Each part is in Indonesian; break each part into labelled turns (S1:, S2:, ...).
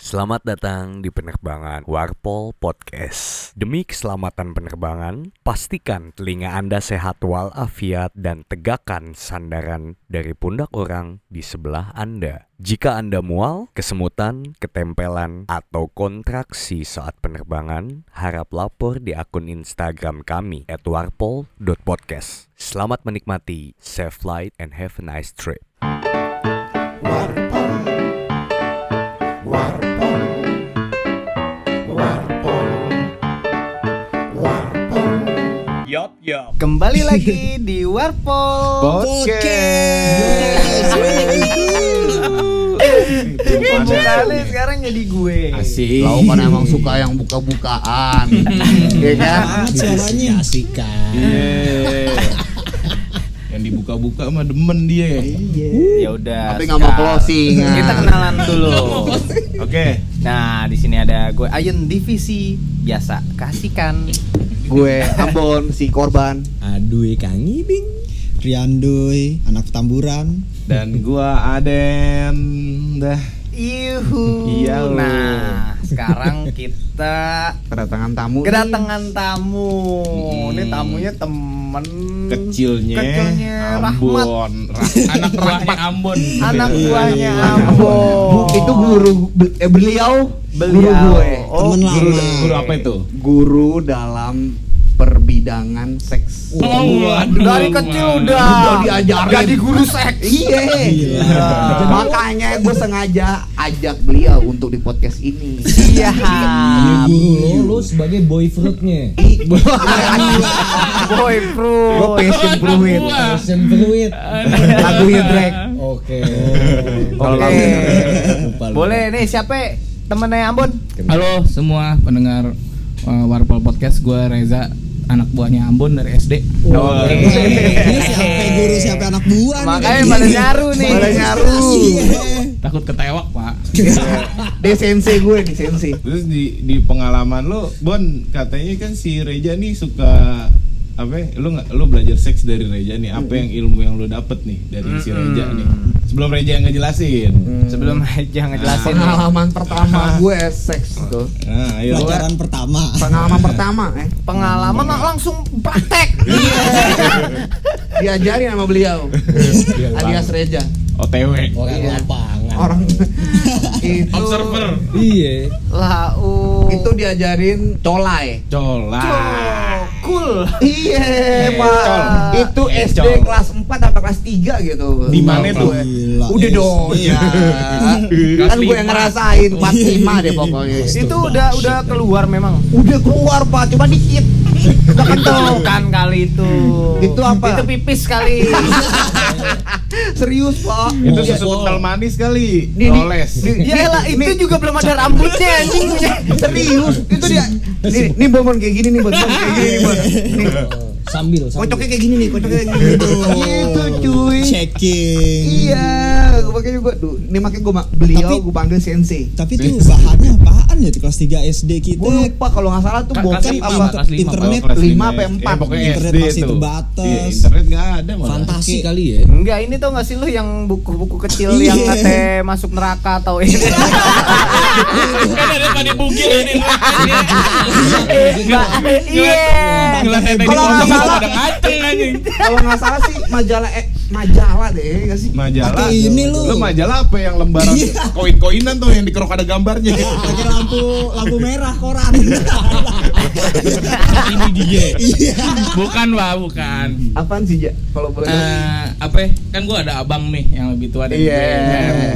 S1: Selamat datang di penerbangan Warpol Podcast. Demi keselamatan penerbangan, pastikan telinga Anda sehat walafiat dan tegakkan sandaran dari pundak orang di sebelah Anda. Jika Anda mual, kesemutan, ketempelan, atau kontraksi saat penerbangan, harap lapor di akun Instagram kami at warpol.podcast. Selamat menikmati, safe flight, and have a nice trip.
S2: Warpol Warpol Warpol Warpol
S3: Kembali lagi di Warpol.
S2: Podcast
S3: Bukan kali sekarang jadi gue.
S2: Asik
S4: Kau kan emang suka yang buka-bukaan Iya kan?
S5: suaranya asik
S4: Iya
S5: yang dibuka-buka mah demen dia
S3: Ya udah.
S4: Tapi nggak mau
S3: sekarang
S4: closing
S3: Kita kenalan dulu.
S5: oke
S3: Nah, di sini ada gue Ayun Divisi biasa kasihkan.
S4: Gue Ambon, si korban
S6: Aduh Kang Ibing Riandoy Anak tamburan
S5: dan gua Aden dah
S3: Ihu.
S5: Iya, lu.
S3: Nah, sekarang kita
S4: Kedatangan tamu nih.
S3: kedatangan tamu.
S5: Hmm.
S3: Ini tamunya temen
S5: kecilnya,
S3: Kecilnya Rahmat.
S5: Ambon Ra- anak buahnya Ambon Iya.
S3: Anak buahnya
S4: Bu-
S3: Ambon.
S4: Iya, Itu guru, be- eh, beliau, Guru eh.
S3: Beliau.
S4: gue
S3: Oh,
S6: Temen
S5: guru
S6: lama
S5: guru apa itu
S4: Guru dalam perbidangan seks
S5: waduh,
S3: dari kecil
S5: Mas.
S3: udah.
S4: Udah diajarin.
S3: Jadi guru seks.
S4: Iya,
S3: Gila.
S4: makanya gue sengaja ajak beliau untuk di podcast ini.
S3: Iya.
S6: Lu lu sebagai boyfriendnya
S3: Boy bro.
S4: Gue passion fluid,
S6: Passion fluid
S4: lagunya Drake.
S6: Oke
S3: Oke.
S6: Lupa, lupa.
S3: Boleh nih siapa temennya Ambon?
S7: Halo semua pendengar uh, Warpol Podcast, gue Reza, anak buahnya Ambon dari SD.
S5: Oke.
S6: Ini siapa guru siapa anak buah nih,
S3: Makanya
S6: Kang
S3: pada
S6: Ibing?
S3: nyaru nih.
S4: Pada nyaru.
S6: Iya.
S7: Takut ketewak pak.
S4: DSNC gue, DSNC.
S5: terus di di pengalaman lo Bon katanya kan si Reja nih suka apa ya, lu nggak lu belajar seks dari Reja nih apa yang ilmu yang lu dapet nih dari si Reja nih sebelum Reja yang ngejelasin
S3: Sebelum aja ngejelasin.
S4: pengalaman pertama gue seks tuh
S5: nah ayo
S6: Pelajaran Kan pertama
S4: pengalaman pertama eh
S3: Pengalaman lah, langsung praktek.
S4: diajarin sama beliau alias Reja
S5: OTW
S6: Orang
S4: Iya.
S6: lapangan
S4: orang itu
S5: observer
S6: Iya
S3: Lau.
S4: itu diajarin colai
S5: cola
S3: cool.
S4: iya pak
S5: Col.
S4: itu
S5: Eh,
S4: SD
S5: col.
S4: kelas 4 atau kelas 3 gitu
S5: Di mana tuh?
S6: Gila,
S4: udah dong
S6: SD.
S4: ya kan gue yang ngerasain 45 deh pokoknya
S3: Itu udah udah keluar memang.
S4: udah keluar pak cuma dikit udah kenceng
S3: Bukan kali itu.
S4: Itu apa?
S3: Itu pipis kali.
S4: serius pak
S5: itu susu kental manis kali
S4: Di- di-
S5: oles
S4: di-
S3: Yaelah, itu juga belum ada rambutnya anjing punya.
S4: serius itu dia nih nih bomon kayak gini nih bomon kayak gini nih Bon. Nih,
S6: Oh, Sambil sambil
S4: kocoknya kayak gini nih kocoknya kayak gini
S6: Iya,
S4: gitu cuy
S6: Checking
S4: iya gue pakai juga duh ini makanya gue beliau
S6: Tapi-
S4: gue panggil sensei
S6: Tapi itu bahannya apaan ya tuh kelas 3 SD
S4: gue
S6: kita
S4: lupa kalau nggak salah tuh
S7: Ka-
S4: bokep
S7: kasih
S4: apa
S7: Pak, kasih lima,
S6: internet
S5: Kelas
S4: lima
S5: lima
S4: apa
S5: S-
S4: empat?
S5: ya, pokoknya
S6: Internet
S5: SD
S6: masih
S5: itu
S6: terbatas.
S5: Iya, internet nggak ada malah
S6: Fantasi kali ya
S3: Enggak, ini tau gak sih lu yang buku-buku kecil yang
S6: Iya.
S3: kate masuk neraka ya? atau ini? Eh, enggak. Iya.
S4: Kalau nggak salah-
S7: ngaceng anjing.
S4: kalau nggak salah sih majalah eh, majalah deh nggak sih
S5: majalah
S6: Pakai ini lu.
S5: lu majalah apa yang lembaran
S6: Iya.
S5: koin-koinan tuh yang dikerok ada gambarnya
S6: pakai lampu lampu merah koran
S7: Ini dia.
S6: iya
S7: Bukan pak, bukan.
S4: apaan sih ja kalau boleh tahu?
S7: Eh, apa? ya? Kan gue ada abang nih yang lebih tua dari
S4: Iya.
S7: gue.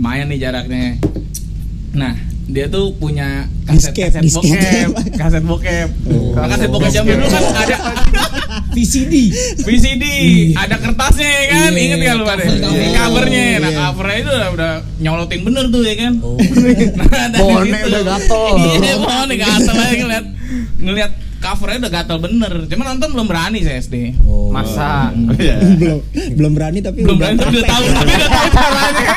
S7: Lumayan nih jaraknya. Nah, dia tuh punya kaset
S6: Disket,
S7: kaset
S6: disket.
S7: bokep, kaset bokep. Nah, kaset bokep zaman dulu kan ada
S6: VCD
S7: VCD
S5: Iya.
S7: ada kertasnya ya kan
S6: Iya,
S7: inget gak lu pada
S6: cover, cover.
S7: ini covernya nah
S6: Iya.
S7: covernya itu udah, udah nyolotin bener tuh ya kan
S6: Oh.
S7: nah, dari
S4: Bone
S7: situ.
S4: udah gatel.
S7: iya bone gatel aja ngeliat ngeliat covernya udah gatel bener cuman nonton belum berani saya SD
S3: Masa
S5: Iya.
S6: belum belum berani tapi
S7: belum
S6: udah
S7: berani tapi udah tahu tapi udah tahu caranya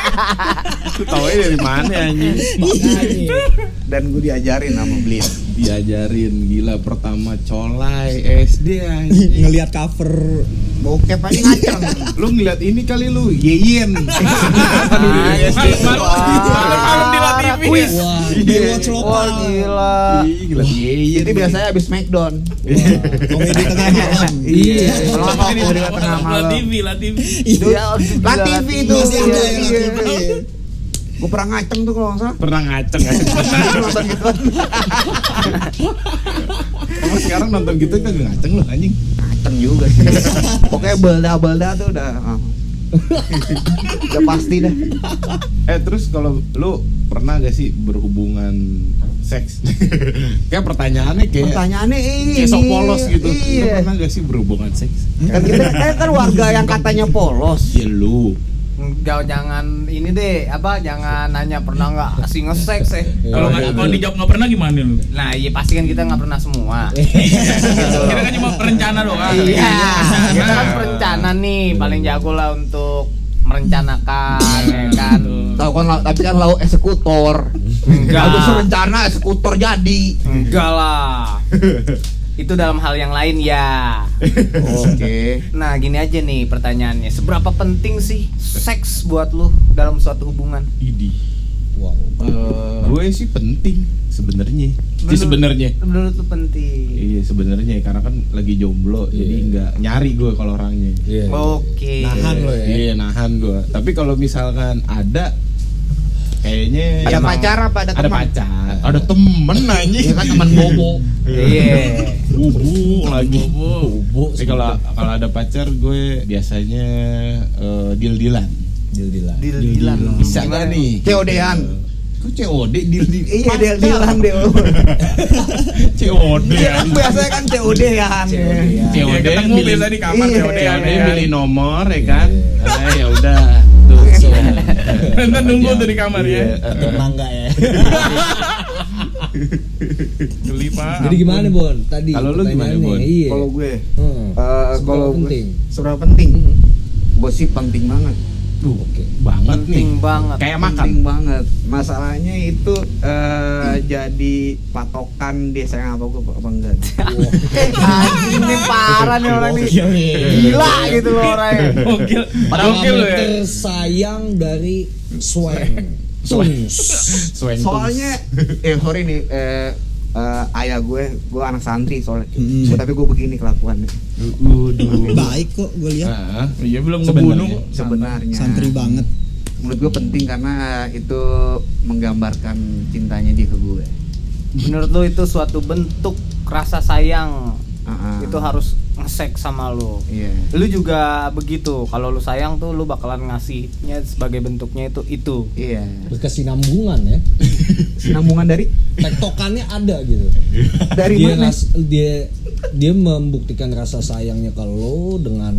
S5: Lu taunya dari mana anjing
S6: makanya
S4: dan gue diajarin sama beliau
S5: diajarin gila pertama colai SD anjing.
S6: ngelihat cover
S4: Bokep aja ngaceng.
S5: lu ngeliat ini kali lu yeyen Iya,
S4: Malam-malam di La TV.
S6: wih
S7: Iya,
S6: watch
S4: Iya. Wah
S6: lokal
S4: gila.
S5: Ih, ngeliat yeyen
S4: Jadi biasanya abis Smackdown.
S6: Wah, komedi tengah malam
S4: Iya. Melompat dari tengah malam.
S8: Latifi, Latifi.
S4: Iya, La TV itu.
S6: masih ada
S4: Iya,
S6: yang
S4: iya.
S6: LTV.
S4: Gue pernah ngaceng tuh kalau nggak salah.
S5: pernah ngaceng ya? anjing.
S4: Nonton gitu.
S5: Emang sekarang nonton gitu kagak ngaceng lu anjing
S4: Ngaceng juga sih. Pokoknya belda-belda tuh udah. ah. Udah pasti dah.
S5: eh terus kalau lu pernah gak sih berhubungan seks kayak pertanyaannya
S4: Iya.
S5: kayak
S4: Pertanyaannya ini.
S5: kayak sok polos gitu lu
S4: Iya.
S5: pernah gak sih berhubungan seks
S4: Kan kita kan, kan warga yang katanya polos.
S5: ya lu
S3: Enggak, jangan ini deh, apa jangan nanya pernah nggak sih ngesek sih.
S8: Kalau nggak- kalau dijawab nggak pernah gimana lu?
S3: Nah, iya pasti kan kita nggak pernah semua.
S8: Kita kan cuma perencana doang. Nah.
S3: Iya, kita kan perencana nih, paling jago lah untuk merencanakan, ya kan.
S4: Tahu kan lau- tapi kan lau eksekutor.
S3: Enggak.
S4: Kalau rencana eksekutor jadi.
S3: Enggak lah. Itu dalam hal yang lain ya.
S4: Oke.
S3: Nah, gini aja nih pertanyaannya. Seberapa penting sih seks buat lu dalam suatu hubungan?
S5: idi wow gue sih penting sebenarnya sih
S3: Menurut-
S5: sebenarnya
S3: Menurut lu penting.
S5: Iya sebenarnya karena kan lagi jomblo jadi nggak nyari gue kalau orangnya.
S9: Iya,
S3: Oke.
S6: Nahan lo ya.
S5: Iya nahan gue. Tapi kalau misalkan ada kayaknya
S4: Ada
S5: emang-
S4: pacar apa ada
S5: ada,
S4: teman?
S5: pacar, ada temen anjing.
S4: Iya kan teman bobo.
S3: Iya.
S5: Bubu lagi.
S8: Bobo.
S5: Tapi kalau kalau ada pacar gue biasanya eh, deal-dealan. Deal-dealan.
S3: Dil-dilan.
S9: Iya.
S5: Bisa
S3: Gimana
S5: nggak
S3: lu?
S5: nih?
S4: COD-an.
S5: Kok COD deal-deal?
S4: Iya dia bilang deh.
S5: COD.
S4: Iya kan biasanya kan
S9: Iya.
S4: COD-an.
S5: COD
S8: Iya, ketemu
S5: milih-
S8: biasa di kamar
S4: Iya.
S8: COD
S5: Ya
S8: ada
S5: udah
S8: ya.
S5: milih nomor ya kan. Ah, ya udah. Tuh. so.
S9: Iya.
S8: Bentar nunggu tuh di kamar ya.
S5: Iya.
S6: mangga ya
S8: Geli pak.
S9: Jadi gimana Bon? Tadi
S5: Kalau lu gimana,
S9: pertanyaannya,
S5: Bon?
S9: Iya.
S4: Kalau gue
S9: Hmm.
S4: eh,
S9: Seberapa
S4: kalau gue-
S9: penting?
S4: seberapa penting? Gue sih penting banget.
S5: Duh, banget nih.
S3: Penting banget.
S5: Kayak makan. Hmm.
S4: Penting banget. Masalahnya itu eh, jadi patokan dia sayang apa gue apa enggak.
S3: Eh, anjing nih parah nih orang nih.
S6: iya.
S3: Gila gitu loh orangnya.
S8: Gokil. Gokil lu ya.
S9: Parameter sayang dari swing. Tungs.
S5: Swing
S4: Soalnya eh sorry nih eh, eh, ayah gue, gue anak santri soalnya.
S5: Hmm.
S4: Gua- tapi gue begini kelakuannya
S5: tools. Waduh.
S6: baik kok
S9: ya.
S6: gue lihat
S5: Uhuh. Ah,
S8: Iya belum
S5: Sebenarnya.
S8: ngebunuh.
S4: sebenarnya.
S6: santri banget
S4: Menurut gue penting karena itu menggambarkan cintanya dia ke gue.
S3: Menurut lu itu suatu bentuk rasa sayang
S5: Nah.
S4: Ah, ah.
S3: itu harus ngesek sama lu.
S4: Iya.
S3: Lu juga begitu. Kalau lu sayang tuh lu bakalan ngasihnya sebagai bentuknya itu itu.
S4: Iya.
S9: Berkesinambungan ya.
S4: Sinambungan dari
S9: Tektokannya ada gitu.
S4: dari
S5: Iya,
S9: dia
S4: mana?
S9: ras- dia dia membuktikan rasa sayangnya ke lo dengan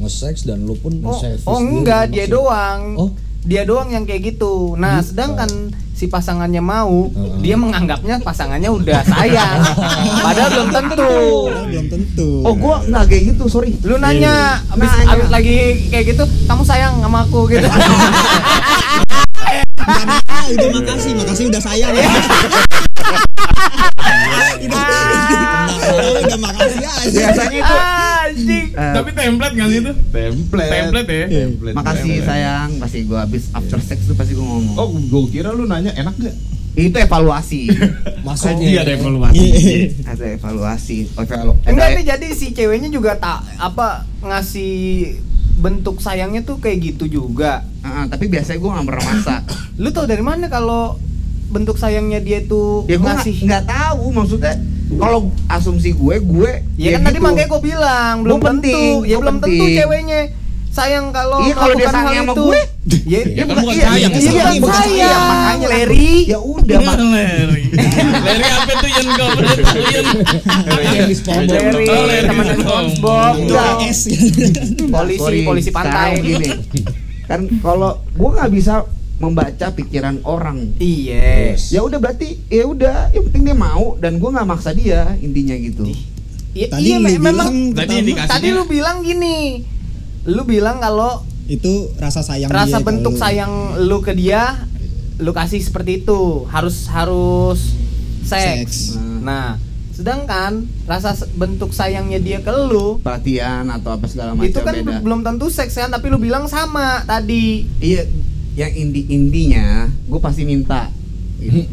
S9: nge-sex dan lo pun
S3: Oh,
S9: nge-service
S3: oh enggak, dia
S9: maksudnya.
S3: doang.
S9: Oh.
S3: Dia doang yang kayak gitu. Nah,
S9: Gitu.
S3: sedangkan si pasangannya mau,
S4: Uh-huh.
S9: Heeh.
S3: dia menganggapnya pasangannya udah sayang. Padahal belum tentu.
S6: Padahal belum tentu
S4: Oh gue nggak kayak gitu sorry.
S3: Lu nanya, abis,
S4: Nanya.
S3: abis lagi kayak gitu, kamu sayang sama aku gitu.
S6: ah udah makasih makasih udah sayang udah udah, udah makasih aja
S4: Biasanya itu
S8: Anjing.
S4: Eh.
S8: Tapi template nggak sih itu?
S5: template. Iya,
S8: Template ya.
S5: Template.
S4: makasih
S5: Template.
S4: sayang pasti gue abis after sex tuh pasti gue ngomong.
S5: Oh, gue kira lu nanya enak gak?
S4: Itu evaluasi.
S9: Maksudnya ya.
S6: Iya.
S4: Ada evaluasi. Oh, evalu-
S3: Enggak
S4: ada-
S3: nih jadi si ceweknya juga tak apa ngasih bentuk sayangnya tuh kayak gitu juga.
S4: Ah, ah, tapi biasanya gue nggak pernah masak.
S3: Lu tau dari mana kalau bentuk sayangnya dia tuh
S4: ya gue nggak
S3: ngasih?
S4: nggak tahu maksudnya. Kalau asumsi gue, gue
S3: Ya kan tadi makanya gue bilang
S4: gitu.
S3: belum
S4: Gua penting,
S3: tentu, ya
S4: gua
S3: belum tentu
S4: penting.
S3: ceweknya sayang kalau
S4: Iya, kalau dia
S3: melakukan
S4: sayang
S3: hal
S4: sama
S3: itu.
S4: gue.
S3: Ya,
S4: Ya,
S8: kan bukan Iya,
S4: iya,
S8: sayang,
S3: itu
S4: iya, iya,
S3: kan
S4: bukan sayang,
S3: sayang,
S4: makanya
S3: Larry.
S4: Ya udah, mak-
S8: Larry. Larry apa tuh yang kau pernah tahu yang?
S9: yang di SpongeBob.
S3: Larry,
S8: Oh, Larry.
S3: teman SpongeBob,
S6: udah
S3: enggak.
S6: es
S3: polisi,
S4: Sorry,
S3: polisi pantai.
S4: sekarang gini. Kan kalau gue nggak bisa membaca pikiran orang.
S3: Iya.
S4: Ya udah berarti ya udah, yang penting dia mau dan gue nggak maksa dia intinya gitu.
S3: Ya,
S6: tadi
S3: iya,
S6: lu
S3: me- memang.
S6: bilang
S8: Tadi
S6: pertama,
S8: indikasi.
S3: Tadi lu bilang gini, lu bilang kalau
S6: itu rasa sayang
S3: rasa
S6: dia ke
S3: bentuk
S6: lu.
S3: sayang lu ke dia lu kasih seperti itu harus harus seks,
S6: Seks.
S3: nah, Nah, sedangkan rasa se- bentuk sayangnya dia ke lu
S4: perhatian atau apa segala macam
S3: itu kan
S4: beda.
S3: belum tentu seks kan, tapi lu bilang sama tadi.
S4: Iya, yang indi indinya gue pasti minta. Gitu.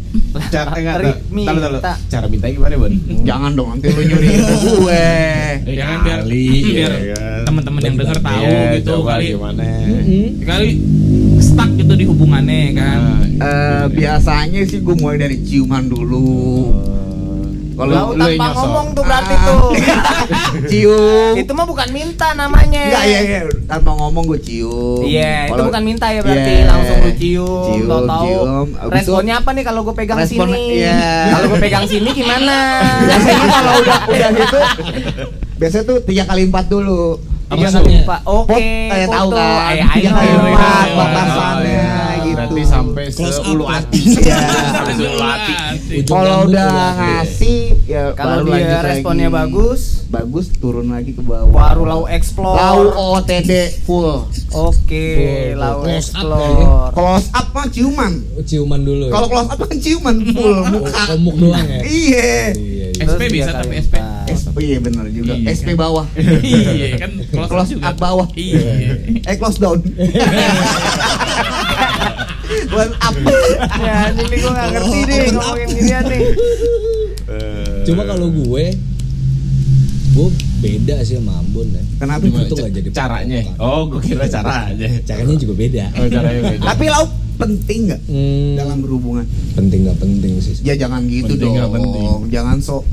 S5: Cara enggak
S3: Tarik
S5: tahu. Tahu, tahu.
S3: minta.
S5: Cara minta gimana, Bon?
S4: Jangan dong nanti lu nyuri itu gue.
S8: Eh, Jangan biar
S5: Kali,
S8: biar
S5: ya kan.
S7: teman-teman yang denger tahu
S5: Iya,
S7: gitu
S5: coba
S7: kali
S5: gimana.
S7: kali stuck gitu di hubungannya kan.
S4: Eh, biasanya sih gue mulai dari ciuman dulu.
S3: Kalau
S5: Kalau lu yang
S3: tanpa
S5: nyosor.
S3: ngomong tuh berarti
S4: Ah.
S3: tuh.
S4: cium.
S3: itu mah bukan minta namanya.
S4: Enggak ya, ya. tanpa ngomong gue cium.
S3: Iya, itu
S4: Kalau-
S3: bukan minta ya berarti
S4: Iya.
S3: langsung lu cium,
S4: Cium,
S3: tau tahu.
S4: cium. Abis itu-
S3: Responnya apa nih kalau gue pegang
S4: Respon-
S3: sini?
S4: iya.
S3: Kalau gue pegang sini gimana?
S4: Biasanya kalau udah udah gitu, biasanya tuh tiga kali empat dulu. Iya.
S9: Apa
S3: Tiga kali
S9: maksudnya?
S3: empat. Oke,
S4: Pot, kayak tahu
S3: foto.
S4: kan?
S3: Eh,
S4: Tiga
S3: ayo.
S4: kali
S5: Iya, iya,
S4: empat
S5: iya,
S4: batasannya
S5: iya.
S4: gitu.
S5: Berarti sampai
S6: Close up
S5: seulu
S6: lah.
S5: hati.
S4: Iya.
S5: Sampai seulu hati.
S9: Ujung
S4: Kalau
S9: rambut
S4: udah
S9: tuh lagi.
S4: ngasih ya
S3: Kalau
S4: baru
S3: dia
S4: lanjut lagi.
S3: responnya bagus,
S4: bagus turun lagi ke bawah.
S3: baru lau explore.
S4: lau OTD full.
S3: Oke,
S9: Full, full.
S3: lau
S9: Close up
S3: explore.
S4: Close up mah ciuman.
S9: ciuman dulu. ya?
S4: Kalau close up kan ciuman full muka.
S9: komuk doang ya.
S4: Iya.
S9: Iya, iya.
S3: Terus
S8: SP
S3: tiga
S8: bisa
S3: kali
S8: tapi SP.
S3: empat.
S4: Oh iya benar juga.
S8: Iya,
S4: SP bawah.
S8: Iya kan
S4: Close
S8: juga.
S4: up bawah.
S8: Iya.
S4: Eh close down. One up.
S3: Ya, anjing nih gue gak ngerti deh ngomongin ginian nih.
S5: Eh,
S9: Cuma kalau gue gue beda sih sama Ambon ya.
S4: Kenapa?
S9: Itu nggak jadi
S5: caranya.
S9: patokan.
S5: Oh, gua kira caranya.
S9: Caranya juga beda.
S5: Oh, caranya beda.
S4: Tapi lau penting nggak
S9: Hmm,
S4: dalam berhubungan?
S9: penting nggak penting sih.
S4: Ya jangan gitu
S5: Penting nggak
S4: dong.
S5: penting.
S4: Jangan sok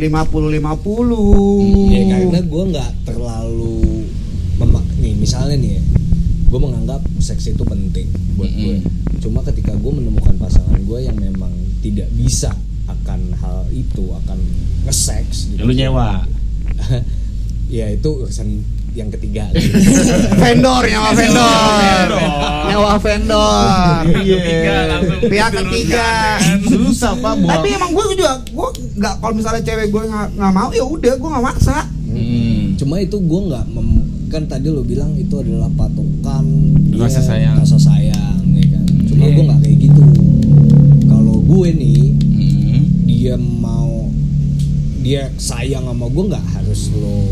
S4: 50 Hmm.
S5: Iya,
S9: Ya karena
S4: 50.
S9: gue nggak terlalu memak nih misalnya nih ya, gue menganggap seks itu penting buat
S8: Hmm.
S9: gue. Cuma ketika gue menemukan pasangan gue yang memang tidak bisa akan hal itu akan nge-seks gitu.
S5: Lu nyewa.
S9: ya itu urusan yang ketiga.
S4: Vendor nyawa vendor.
S8: Vendor.
S4: Nyawa vendor.
S8: Tiga langsung
S4: Pihak
S8: diturunkan,
S4: ketiga.
S8: kan?
S5: Susah, Pak. buat-
S4: Tapi emang gue juga gue nggak kalau misalnya cewek gue nggak nggak mau ya udah gue nggak maksa.
S5: Hmm.
S9: Cuma itu gue nggak mem- kan tadi lo bilang itu adalah patokan dia
S5: Rasa sayang.
S9: rasa sayang ya kan. Cuma
S7: Iya.
S9: gue nggak kayak gitu. Kalau gue nih
S5: Hmm.
S9: dia mau dia sayang sama gue nggak harus lo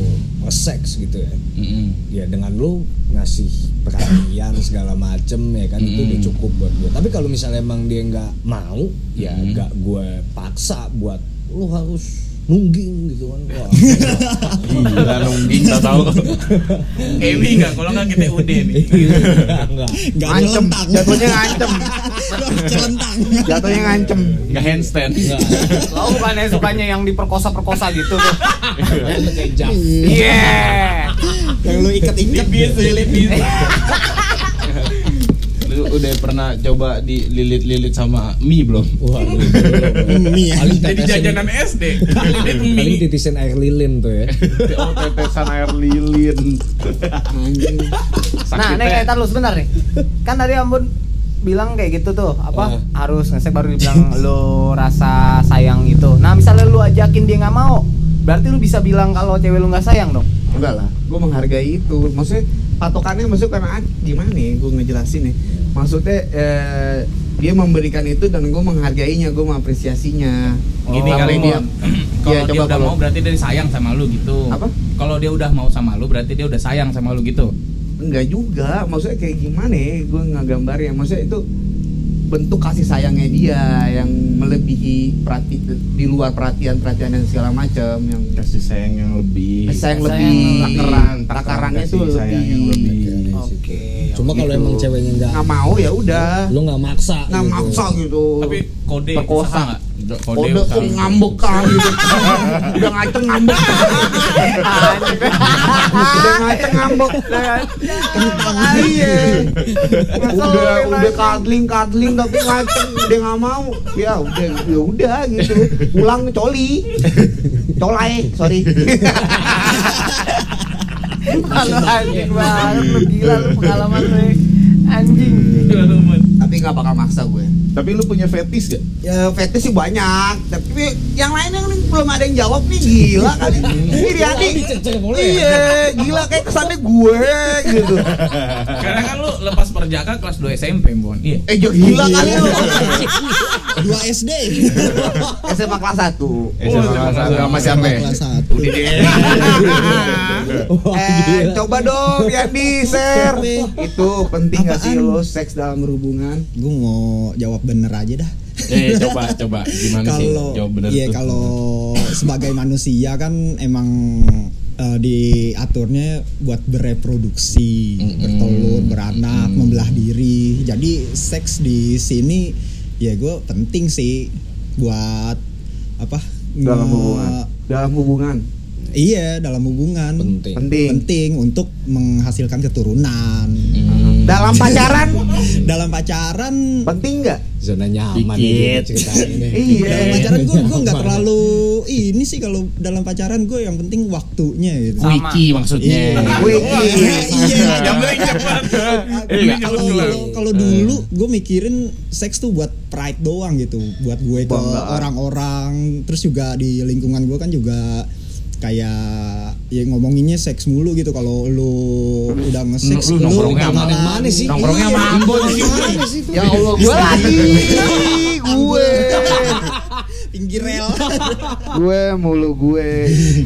S9: seks gitu ya.
S5: Hmm.
S9: Ya dengan lo ngasih perhatian segala macem ya kan itu
S5: Mm.
S9: udah cukup buat gue. Tapi kalau misalnya emang dia nggak mau ya
S5: Mm.
S9: nggak gue paksa buat lo harus nungging gitu kan. Wah,
S5: Gila nungging tahu.
S8: Emi enggak kalau enggak kita UD nih.
S5: Iya.
S9: Enggak, enggak.
S6: Gak ada
S4: Ngancem.
S6: lentang.
S4: Jatuhnya ngancem.
S6: Celentang.
S4: Jatuhnya ngancem.
S5: Enggak handstand.
S3: Lau bukan kan yang sukanya yang diperkosa-perkosa gitu tuh.
S9: Kayak jam.
S3: Iya.
S6: Yang lu ikat-ikat.
S5: Lu udah pernah coba dililit-lilit sama mie belum?
S9: Wah, lu itu belum.
S6: Mie ya.
S9: Paling
S8: Jadi
S9: tetesin-
S8: jajanan SD. Lilit
S9: paling
S8: mie.
S9: titisin air lilin tuh ya.
S4: Iya.
S5: Oh, tetesan air lilin.
S4: Anjing.
S3: Nah,
S5: Sakitnya.
S3: nih kayak lu sebentar nih. Kan tadi Ambon bilang kayak gitu tuh, apa
S9: Eh.
S3: harus ngesek baru dibilang lu rasa sayang gitu. Nah, misalnya lu ajakin dia nggak mau, berarti lu bisa bilang kalau cewek lu nggak sayang dong.
S4: Enggak lah, gue menghargai itu. Maksudnya patokannya maksudnya karena ah, gimana nih gue ngejelasin ya. Maksudnya eh, dia memberikan itu dan gue menghargainya, gue mengapresiasinya.
S7: Gini
S4: Sampai
S7: kali
S4: dia,
S7: dia. Kalau
S4: Iya,
S7: dia
S4: coba
S7: udah
S4: kalau-
S7: mau berarti dia sayang sama lu gitu.
S4: Apa?
S7: Kalau dia udah mau sama lu berarti dia udah sayang sama lu gitu.
S4: enggak juga. Maksudnya kayak gimana ya, gue nggak gambar ya. Maksudnya itu bentuk kasih sayangnya dia yang melebihi perhati di luar perhatian perhatian dan segala macam yang
S5: Kasih sayang yang lebih.
S4: kasih sayang
S3: Sayang
S4: lebih
S5: Takaran,
S4: takarannya
S5: kasih
S4: tuh
S5: sayang yang
S4: lebih
S5: lebih.
S3: Oke.
S9: Cuma kalau
S4: Gitu.
S9: emang ceweknya enggak
S4: nggak mau ya udah
S9: lu nggak maksa.
S4: nggak
S9: gitu.
S4: maksa gitu
S8: Tapi kode
S4: Perkosa.
S8: usaha nggak? Kode,
S4: Kode
S8: usaha.
S4: tuh ngambek kan gitu. Udah ngaceng ngambek. Udah ngaceng ngambek.
S3: Nah, kan?
S4: Iya. Udah udah kadling kadling tapi ngaceng dia nggak mau. Ya udah ya udah gitu. Pulang coli. Colai, sorry.
S3: Kalau anjing banget lu gila lu pengalaman lu. ya. Anjing.
S8: Gila, lu, Man.
S4: tapi tapi nggak bakal maksa gue
S5: Tapi lu punya fetish gak?
S4: ya fetish sih banyak tapi yang lain yang belum ada yang jawab nih gila kali ini Riani
S9: ya?
S4: iya gila kayak kesannya gue gitu
S7: Karena kan lu lepas perjaka kelas 2 SMP, Bon. Iya.
S4: eh jo- gila kali lu
S6: Dua SD.
S4: Eh. SMA kelas 1
S5: Eh, sama- sama- sama- sama siapa ya?
S6: Kelas satu.
S9: gitu ya?
S4: eh coba dong Riani share itu penting gak sih
S6: Apaan?
S4: lo seks dalam hubungan
S6: Gue mau jawab bener aja dah.
S5: Eh, coba, coba. Gimana sih?
S6: kalau
S5: Jawab bener
S6: iya
S5: tuh.
S6: kalau sebagai manusia kan emang eh, diaturnya buat bereproduksi, bertelur, beranak, membelah diri. Jadi seks di sini ya gue penting sih buat apa?
S4: dalam
S6: nge-
S4: hubungan dalam hubungan
S6: Iya, dalam hubungan.
S9: Penting.
S4: penting
S6: Penting untuk menghasilkan keturunan.
S5: Hmm.
S4: dalam pacaran
S6: Dalam pacaran
S4: penting nggak
S9: Zona nyaman nih ceritain nih.
S4: Iya.
S6: dalam pacaran gue gue nggak
S9: Nyaman.
S6: terlalu ini sih kalau dalam pacaran gue yang penting waktunya gitu.
S5: Wiki maksudnya.
S4: Wiki.
S6: Iya.
S5: Iya.
S6: Kalau kalau- kalau dulu gue mikirin seks tuh buat pride doang gitu, buat gue ke
S4: Kebanggaan.
S6: orang-orang, terus juga di lingkungan gue kan juga kayak ya ngomonginnya seks mulu gitu kalau lu udah nge-sex
S5: Lu nongkrongnya sama-
S6: kemana-
S9: mana sih?
S5: Nongkrongnya sama
S6: Iya,
S5: Ambon sih.
S6: mana sih tuh?
S4: ya Allah gue lagi gue
S6: pinggir rel
S4: gue mulu gue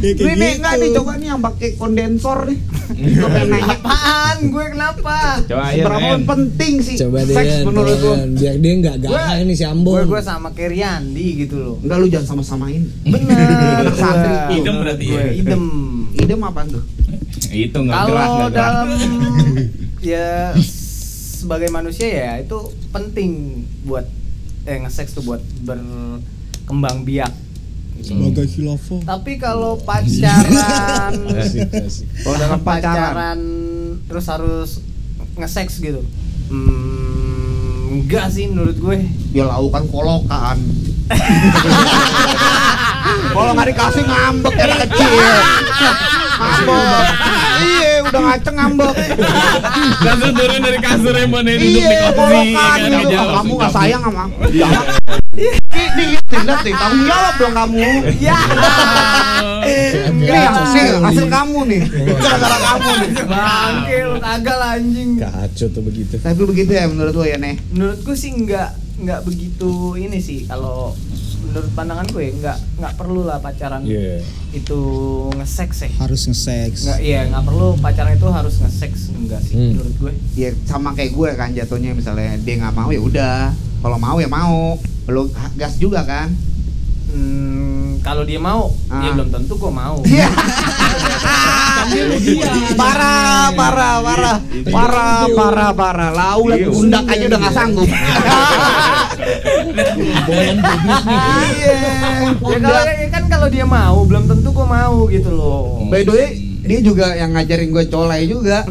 S6: Ya, kayak
S4: ini nih
S6: gitu.
S4: enggak nih coba nih yang pakai kondensor nih Gue pengen nanya
S3: Apaan? Gue kenapa?
S5: Coba Ian,
S4: seberapa
S5: Ian.
S4: penting sih
S9: Coba deh.
S4: seks
S9: Yan,
S4: menurut
S9: coba
S4: lo
S9: Yan. Biar dia enggak galak ini si Ambon.
S3: Gue gue sama kayak Riyandi gitu loh.
S4: enggak lu jangan sama-samain
S3: Bener.
S4: Anak santri.
S8: Idem berarti ya?
S3: Gue idem.
S4: idem apaan tuh
S5: Itu nggak gerak,
S3: Kalau
S5: nggak gerak.
S3: dalam ya sebagai manusia ya itu penting buat eh nge-sex tuh buat berkembang biak.
S6: sebagai khilafah
S3: Tapi kalau pacaran
S5: Eh,
S9: Asik, asik.
S4: kalau dalam pacaran
S3: pacaran terus harus nge-sex gitu. Hmm, enggak sih menurut gue.
S4: ya laukan kolokan kalau nggak dikasih ngambek ya anak kecil ngambek iya udah ngaceng ngambek
S8: Langsung turun dari kasur ya Bon, ya, duduk di
S4: iya
S8: kursi ya
S4: kolokan
S8: kan,
S4: gitu
S8: dijawab,
S4: kamu nggak
S8: dijawab.
S4: sayang sama aku. Iya. Jangan. Ih, nih, Tidak nih, tanggung jawab dong kamu.
S3: Ya.
S4: Enggak, hasil, hasil kamu nih. Gara-gara kamu nih.
S3: Bangke lu kagak lah, anjing.
S9: Kacau tuh begitu.
S4: Tapi begitu ya menurut lo ya, Neh?
S3: menurutku sih nggak nggak begitu ini sih kalau menurut pandangan gue nggak nggak perlu lah pacaran
S9: Iya.
S3: itu ngesek sih
S6: harus nge-sex
S3: nggak iya nggak perlu pacaran itu harus ngesek enggak sih
S9: Hmm.
S3: menurut gue
S4: Ya sama kayak gue kan jatuhnya misalnya dia nggak mau ya udah. Kalau mau ya mau. Lo gas juga kan?
S3: Hmm, kalau dia mau dia
S4: Ah.
S3: belum tentu kok mau
S4: Iya. parah, parah, parah, parah, parah, parah. Lau
S3: Iya.
S4: lagi pundak aja udah nggak sanggup. Iya,
S3: ya kalau
S4: pundak.
S3: ya kan kalau dia mau belum tentu kok mau gitu loh
S4: By the way, dia juga yang ngajarin gue colai juga.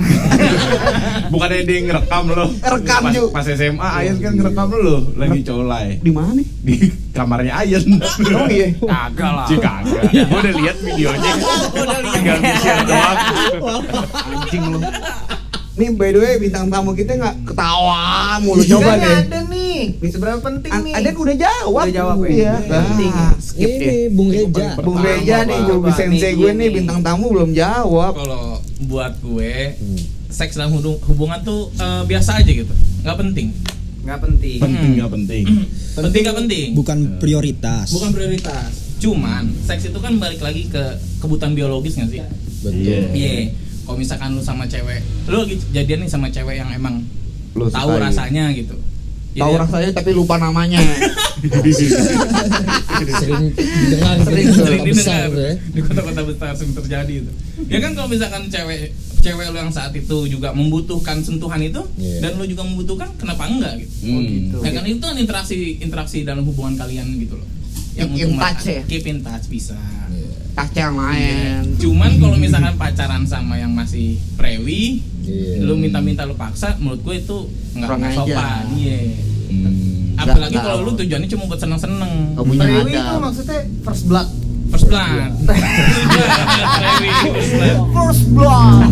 S5: Bukannya dia ngerekam lo.
S4: Rekam,
S5: Pas-
S4: Ju.
S5: Pas SMA Ayan kan ngerekam lo lagi colai
S4: Di mana nih?
S5: di kamarnya Ayan.
S4: Oh iya.
S3: kagak lah
S5: Cika, gue udah lihat videonya. Tinggal di share doang.
S4: Anjing lu. Nih by the way bintang tamu kita nggak ketawa mulu coba
S3: Kan
S4: deh.
S3: ada nih seberapa penting
S4: A-
S3: nih
S4: Ada yang udah jawab.
S3: Udah jawab ya?
S4: Iya.
S3: Penting.
S4: Ah, Skip deh.
S9: Ini Bung Reja.
S4: Bung
S3: Pertama,
S4: Reja nih,
S3: Pak. Iya,
S4: Jobi
S3: Pak,
S4: Sensei
S3: nih,
S4: gue
S3: ini.
S4: nih bintang tamu belum jawab.
S8: Kalau buat gue seks dalam hubung- hubungan tuh eh, biasa aja gitu. nggak penting.
S3: nggak penting
S5: Penting nggak penting.
S8: Penting nggak penting.
S6: bukan prioritas
S8: Bukan prioritas. Cuman seks itu kan balik lagi ke kebutuhan biologis nggak sih?
S5: Iya.
S9: Betul.
S8: Iya. Kalau misalkan lu sama cewek, lu lagi jadian nih sama cewek yang emang
S4: Lu
S8: tahu
S4: sukai.
S8: rasanya gitu.
S3: Iya.
S8: Jadi
S4: Tahu
S8: ya,
S4: rasanya tapi lupa namanya.
S9: Sering
S4: Ah.
S9: dengar
S4: Sering,
S9: gitu,
S8: sering
S9: kota besar
S8: didengar
S9: tuh ya.
S8: kan di kota-kota besar sering terjadi itu. Ya kan kalau misalkan cewek cewek lu yang saat itu juga membutuhkan sentuhan itu
S9: Iya.
S8: dan lu juga membutuhkan kenapa enggak gitu.
S5: Hmm.
S8: Ya kan itu kan interaksi interaksi dalam hubungan kalian gitu loh.
S4: Keep in
S8: untuk
S4: touch ya?
S8: mata-
S4: Iya.
S8: Keep in touch bisa.
S4: Tasya yang lain.
S3: Iya.
S8: Cuman kalau misalkan pacaran sama yang masih prewi,
S9: Iya.
S8: lu minta-minta lu paksa, menurut gue itu nggak
S4: Kurang
S8: nggak
S4: aja.
S8: sopan. Iya.
S5: Hmm.
S8: Apalagi
S4: nggak. Oh.
S8: kalau lu tujuannya cuma buat seneng-seneng.
S4: Gak punya
S3: Priwi
S4: ada.
S3: itu maksudnya first blood
S8: First First blood.
S4: Iya.
S3: First blood.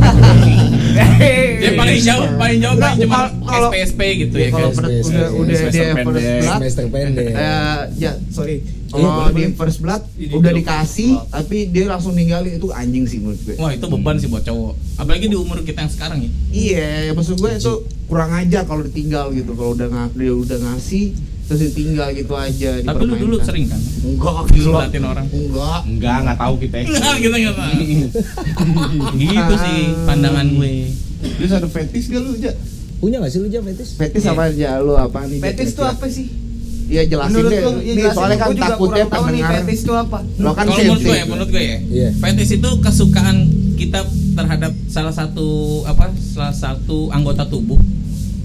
S8: Dia Ya, paling jauh, paling jauh
S4: Iya. Nggak,
S8: paling cuma
S4: kalau- kalau- iya,
S8: SPSP gitu ya
S4: kalau
S8: kan.
S4: pernah-
S3: Iya,
S9: Yes,
S4: udah
S9: yes,
S4: udah
S9: yes.
S4: dia
S5: Semester
S4: first
S5: pendek.
S4: blood
S9: semester pendek
S4: eh, ya sorry
S3: Iya,
S4: kalau di first blood udah dikasih tapi dia langsung ninggalin itu anjing sih menurut gue
S8: Wah itu beban sih buat cowok. Apalagi di umur kita yang sekarang ya.
S4: Iya, maksud gue itu kurang aja kalau ditinggal gitu. Kalau udah nga- dia udah ngasih terus ditinggal gitu aja.
S8: Tapi lu dulu
S4: dipermainkan.
S8: sering kan?
S4: enggak
S8: Lu
S4: gila.
S8: latihan orang.
S4: Enggak.
S5: Enggak, nggak tahu kita. ya.
S8: Nah, gitu nggak Pak? Gitu sih pandangan gue.
S5: Terus ada fetis gak lu, Ja?
S9: punya nggak sih lu jam fetis
S4: Fetis apa aja lu apa nih? ya?
S3: Petis tuh apa sih?
S4: Iya jelasin
S3: Menurut
S4: deh.
S3: lu, ya
S4: Nih
S3: jelasin.
S4: soalnya kan
S3: Gua juga
S4: takutnya
S3: kurang tahu nih
S4: pendengar.
S3: petis tuh apa.
S4: Lo kan
S8: Kalau menurut gue ya,
S4: sensitif.
S8: menurut gue ya.
S9: Iya.
S8: Fetish itu kesukaan kita terhadap salah satu apa? Salah satu anggota tubuh.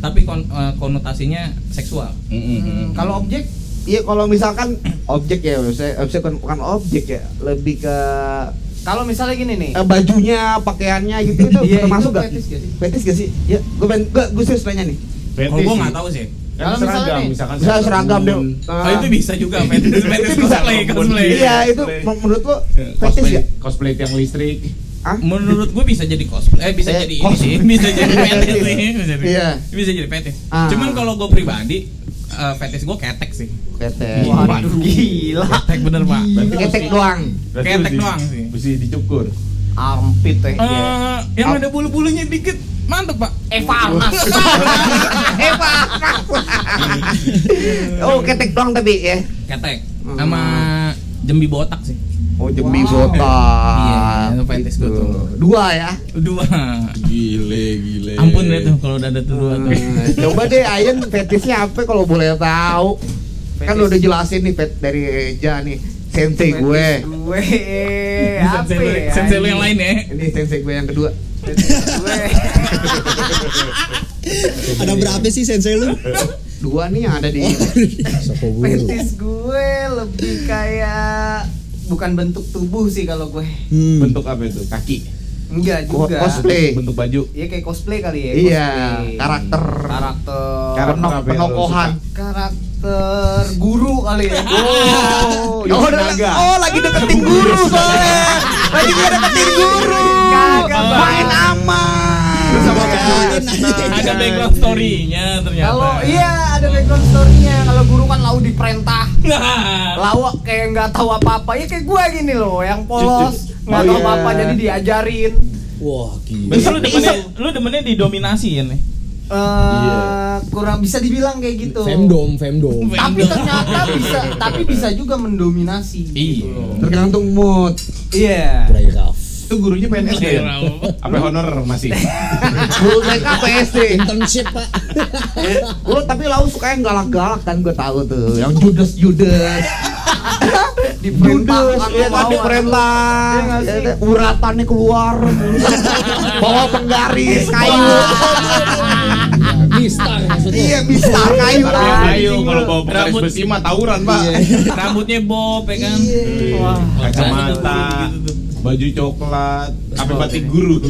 S8: Tapi kon- eh, konotasinya seksual.
S3: Hmm, kalau objek
S4: Iya kalau misalkan objek ya, misalnya objek kan bukan objek ya, lebih ke
S3: kalau misalnya gini nih.
S4: eh, bajunya, pakaiannya gitu itu
S3: Iya,
S4: termasuk
S3: itu
S4: gak?
S3: fetis gak sih?
S4: Fetis gak sih? Ya, gue pengen, gue, gue serius nanya nih.
S8: Kalau gue nggak tahu sih.
S5: Kan
S3: Kalau misalnya
S5: seragam,
S3: nih,
S5: misalkan
S4: Misalnya seragam deh.
S8: Oh itu bisa juga fetish fetish cosplay cosplay.
S4: Ah. Iya itu menurut lo
S8: Iya,
S4: fetis
S5: Cosplay,
S4: gak?
S5: cosplay tiang listrik.
S4: Ah?
S8: Menurut gue bisa jadi cosplay, eh bisa
S4: Eh,
S8: jadi ini sih,
S4: cosplay.
S8: bisa jadi fetish sih, bisa jadi,
S4: Iya.
S8: bisa jadi fetish.
S4: Ah.
S8: Cuman kalau gue pribadi, eh, fetish gue ketek sih.
S4: Ketek.
S8: Iya. Waduh,
S3: gila.
S8: Ketek bener pak.
S5: Berarti
S4: Ketek doang.
S5: berarti
S8: Ketek
S5: mesti-
S8: doang sih.
S5: Mesti dicukur.
S3: Armpit teh.
S4: Iya.
S8: Eh, yang ada bulu-bulunya dikit, mantep pak.
S3: Evanas.
S4: Eh,
S8: Iya.
S4: Oh ketek doang tapi ya.
S8: Ketek, sama Hmm. jembi botak sih.
S4: Oh jembi botak.
S8: Iya, itu fetish gua
S4: Gitu.
S8: tuh.
S4: Dua ya.
S8: Dua.
S5: Gile, gile.
S8: Ampun deh tuh kalau udah ada tuh dua tuh.
S4: Eh, Coba deh Ayan fetisnya apa kalau boleh tahu. Kan lu udah jelasin nih pet dari Eja nih. Sensei gue.
S3: Gue apa
S8: Sensei lu-
S3: ya?
S8: Sensei lu yang lain ya.
S4: Ini sensei gue yang kedua.
S3: Gue.
S6: Ada berapa sih sensei lu?
S4: Dua nih yang ada di
S9: sopo guru
S3: Petis gue lebih kayak bukan bentuk tubuh sih kalau gue.
S6: Hmm.
S5: Bentuk apa itu? Kaki.
S3: Enggak
S4: Ko-
S3: juga.
S4: cosplay.
S5: Bentuk baju.
S3: Iya kayak cosplay kali ya.
S4: Iya,
S3: cosplay.
S4: karakter.
S3: Karakter.
S5: Karakter. apa
S4: Penok-
S5: ya, yang lu
S4: Penokohan.
S3: Karakter guru kali ya.
S4: Oh, udah, oh lagi deketin guru soalnya. Lagi gue deketin guru.
S3: Kagak, Bang.
S4: Main aman.
S5: Terus apa
S6: Nah,
S8: Ada background story-nya ternyata.
S3: Kalau iya ada background story-nya. Kalau guru kan lau diperintah.
S8: Nah,
S3: Lawak kayak nggak tahu apa-apa. Ya kayak gue gini loh, yang polos,
S5: Jujur.
S3: nggak
S5: Oh,
S3: tahu
S5: iya.
S3: apa-apa jadi diajarin.
S9: wah gila
S8: Berarti lu demennya, lu demennya didominasi ya nih?
S3: Eh, kurang bisa dibilang kayak gitu.
S9: femdom femdom
S3: Tapi ternyata bisa, tapi bisa juga mendominasi. gitu
S8: Iya.
S3: loh.
S4: Tergantung mood.
S3: Iya.
S9: play rough
S5: Itu gurunya PNS
S8: Iya,
S5: ya? Apa honor masih?
S4: Guru TK PSD.
S9: internship pak
S4: Lu tapi lau suka yang galak-galak kan gue tahu tuh. Yang judes-judes.
S3: Diperintah,
S4: ya kan diperintah.
S3: Iya nggak sih?
S4: Ya, Uratannya keluar. Bawa
S3: Iya,
S4: penggaris kayu.
S9: mistar maksudnya
S4: Iya bisa
S5: Tapi
S4: kayu.
S5: yang
S4: anjing
S5: kayu
S4: lu.
S5: kalau bawa penggaris
S8: Rambut.
S5: besi mah tawuran, Pak.
S8: Iya. Rambutnya bob ya kan?
S3: Wah.
S5: Kacamata, baju coklat, apa batik guru.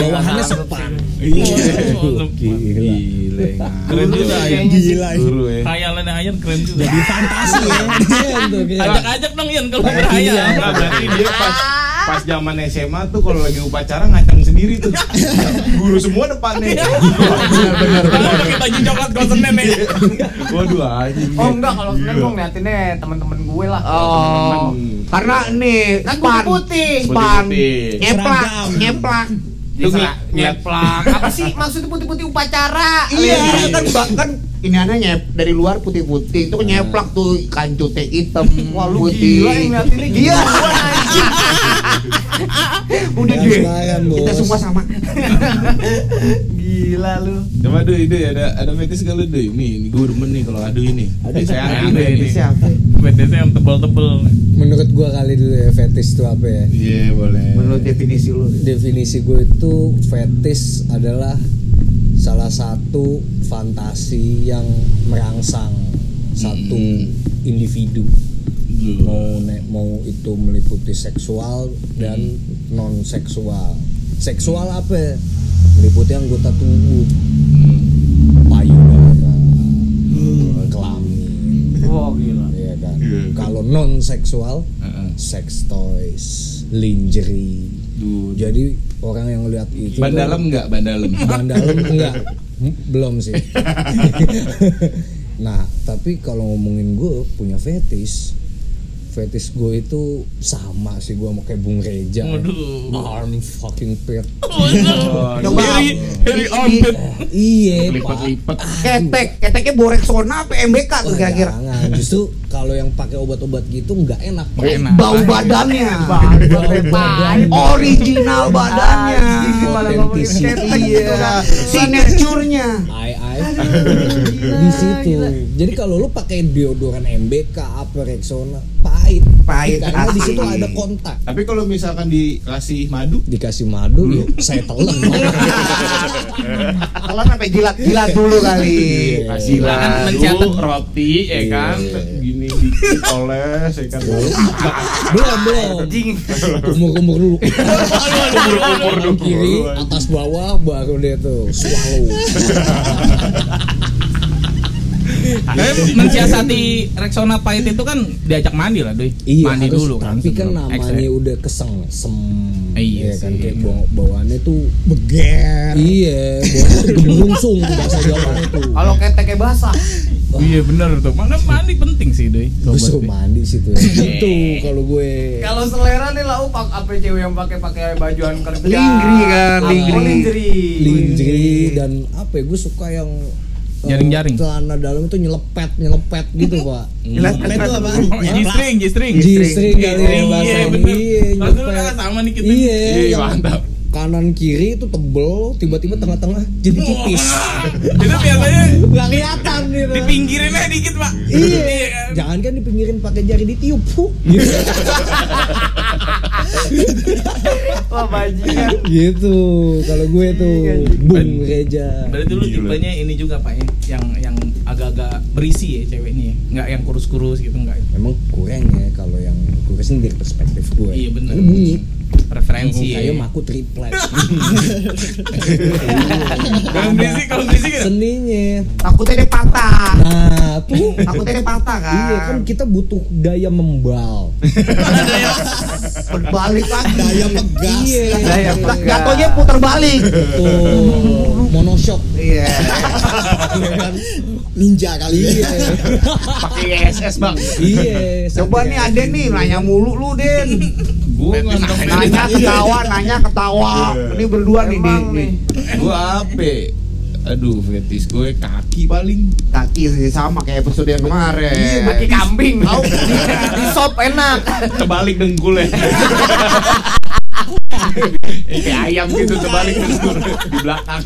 S9: bawahannya sepan
S8: Iya.
S5: Gile.
S8: Keren juga ya.
S6: Gila.
S5: Guru ya.
S8: Khayalan Ayan keren juga.
S6: Jadi fantasi ya. Iya, tuh, kayak.
S8: Ajak-ajak dong Yan kalau
S5: Iya,
S8: berhayal.
S5: berarti dia pas pas zaman SMA tuh kalau lagi upacara ngacang sendiri tuh. Guru semua depannya. Benar
S8: Kalau pakai baju coklat gosen nenek.
S5: Waduh anjing.
S3: Oh enggak kalau sebenarnya
S5: Gila.
S3: gue ngeliatinnya temen-temen gue lah.
S4: Oh, karena nih
S3: Kan
S4: span,
S3: putih-putih.
S4: span,
S5: Putih-putih.
S4: nyeplak,
S6: Seragam.
S4: nyeplak.
S3: Dia
S8: Lu
S3: salah-
S8: ngeliat-
S3: nyeplak. Apa sih maksudnya putih-putih upacara?
S4: Iya, kan bahkan ini aneh nyep dari luar putih-putih itu kan nyeplak tuh kancutnya hitam.
S3: Wah lu gila yang ngeliatinnya
S4: Iya.
S3: gila.
S4: Udah
S9: Iya,
S6: Jangan
S4: deh.
S6: sembarangan,
S4: Kita
S6: Bos.
S4: semua sama.
S3: Gila lu.
S5: Coba aduh ini ada ada fetis gak lu Duy? Ini ini guru nih kalau aduh ini. Eh, saya aneh deh
S4: Iya,
S5: ini.
S4: Siapa?
S8: Bedanya yang tebel-tebel.
S9: menurut gua kali dulu ya fetish itu apa ya
S5: Iya boleh.
S4: Menurut definisi lu.
S9: definisi gue itu fetish adalah salah satu fantasi yang merangsang satu individu mau ne- mau itu meliputi seksual dan non seksual seksual apa ya? meliputi anggota tubuh payudara kelamin
S3: Wah gila.
S9: ya kan Iya kalau non seksual
S5: Heeh.
S9: sex toys, lingerie.
S5: Dude.
S9: Jadi orang yang lihat itu
S5: Ban dalam nggak? Ban dalam.
S9: Ban dalam enggak? Hmm, Belum sih. nah, tapi kalau ngomongin gue punya fetish, fetish gue itu sama sih gue mau kayak Bung Reja. ya. Arm fucking pit.
S4: Coba
S5: Dari armpit.
S9: Iya, Pak.
S5: Lipat-lipat.
S4: ketek, keteknya boreksona apa MBK tuh
S9: Wah,
S4: kira-kira.
S9: jangan. Justru kalau yang pakai obat-obat gitu nggak enak. Pak.
S7: Nggak enak.
S4: Bau badannya. Original
S3: Iya.
S4: badannya.
S3: malah ngomongin
S9: Authenticity.
S3: ketek gitu
S4: Iya.
S3: kan.
S4: Signaturnya.
S9: Ai ai di situ. Jadi kalau lu pakai deodoran MBK apa Rexona pahit.
S4: Pahit
S9: Karena di
S4: asli.
S9: situ ada kontak.
S5: Tapi kalau misalkan dikasih madu,
S9: Dikasih madu ya
S4: Hmm.
S9: saya telan.
S4: Kalau sampai jilat-jilat dulu kali. Iya,
S5: kasih
S7: Kan
S5: madu,
S7: mencetak.
S5: roti, ya kan, gini dioles, ya kan.
S4: Iya.
S9: belum belum. Kumur-kumur dulu. Kanan, Kiri atas bawah baru dia tuh swallow.
S7: Tapi mensiasati Rexona pahit itu kan diajak mandi lah, Doi.
S9: Iya,
S7: mandi
S9: harus-
S7: dulu kan.
S9: Tapi kan
S7: sebelum
S9: namanya
S7: eksen.
S9: udah keseng sem.
S7: Iya
S9: kan
S7: sih.
S9: kayak bau- bawaannya tuh
S6: beger
S9: Iya, bau gembrungsung tuh bahasa Jawanya tuh.
S3: Kalau keteknya basah.
S7: Iya benar tuh. Mana mandi penting sih, Doi.
S9: Gue suruh mandi situ. Gitu
S7: Iya.
S9: kalau gue.
S3: Kalau selera nih lau pak apa cewek yang pakai pakai bajuan kerja.
S4: Lingerie kan,
S3: Apa
S4: lingerie.
S3: lingerie.
S9: lingerie dan apa ya? Gue suka yang eh,
S7: Jaring-jaring.
S9: Celana dalam itu nyelepet, nyelepet gitu, Pak.
S6: itu
S7: kan?
S6: apa
S7: G-string, Oh, G-string.
S9: G-string kali ya bahasa.
S7: Iya, bener. Lalu udah sama nih kita.
S9: Iya,
S5: Iya,
S9: yang
S5: mantap.
S9: Kanan kiri itu tebel, tiba-tiba tengah-tengah jadi tipis.
S7: Itu biasanya
S9: Gak kelihatan gitu.
S7: di pinggirin aja dikit, Pak.
S9: Iya, jangan kan dipinggirin pakai jari ditiup. Pu. Gitu.
S3: Wah bajingan.
S9: gitu. Kalau gue tuh Bung Reja.
S7: Berarti lu tipenya ini juga, Pak, ya. Yang yang agak-agak berisi ya cewek ini ya. Enggak yang kurus-kurus gitu, enggak.
S9: Emang kurang ya kalau yang kurang sih dari perspektif gue.
S7: Iya, bener.
S9: Ini bunyi.
S7: Referensi ya.
S8: Iya,
S9: Ayo maku triplek.
S7: Kalau berisi, kalau berisi
S9: Iya. ya?
S7: gitu.
S9: Seninya.
S4: Takutnya dia patah.
S9: Nah, tuh.
S4: Takutnya dia patah kan.
S9: Iya kan kita butuh daya membal.
S4: berbalik lagi.
S6: daya pegas
S9: Iya.
S3: Daya
S4: Jat-
S3: pegas.
S4: Jatuhnya putar balik.
S9: Tuh, monoshock.
S4: Iya.
S6: ninja kali
S9: Iya.
S5: Pakai ISS bang.
S9: Iya. sampai
S4: Coba nih
S9: kayak
S4: ada nih nanya mulu lu Den.
S5: Gue Iya.
S4: Nanya ketawa, nanya ketawa. Ini berdua nih nih.
S3: Emang
S4: nih.
S3: nih.
S5: Gue apa? Aduh, fetish gue kaki paling.
S4: Kaki sih sama kayak episode yang kemarin.
S3: Iya, kaki kambing. Tahu? Di sop enak.
S5: Terbalik dengkulnya. Eh, Kayak ayam gitu terbalik dengkul di belakang.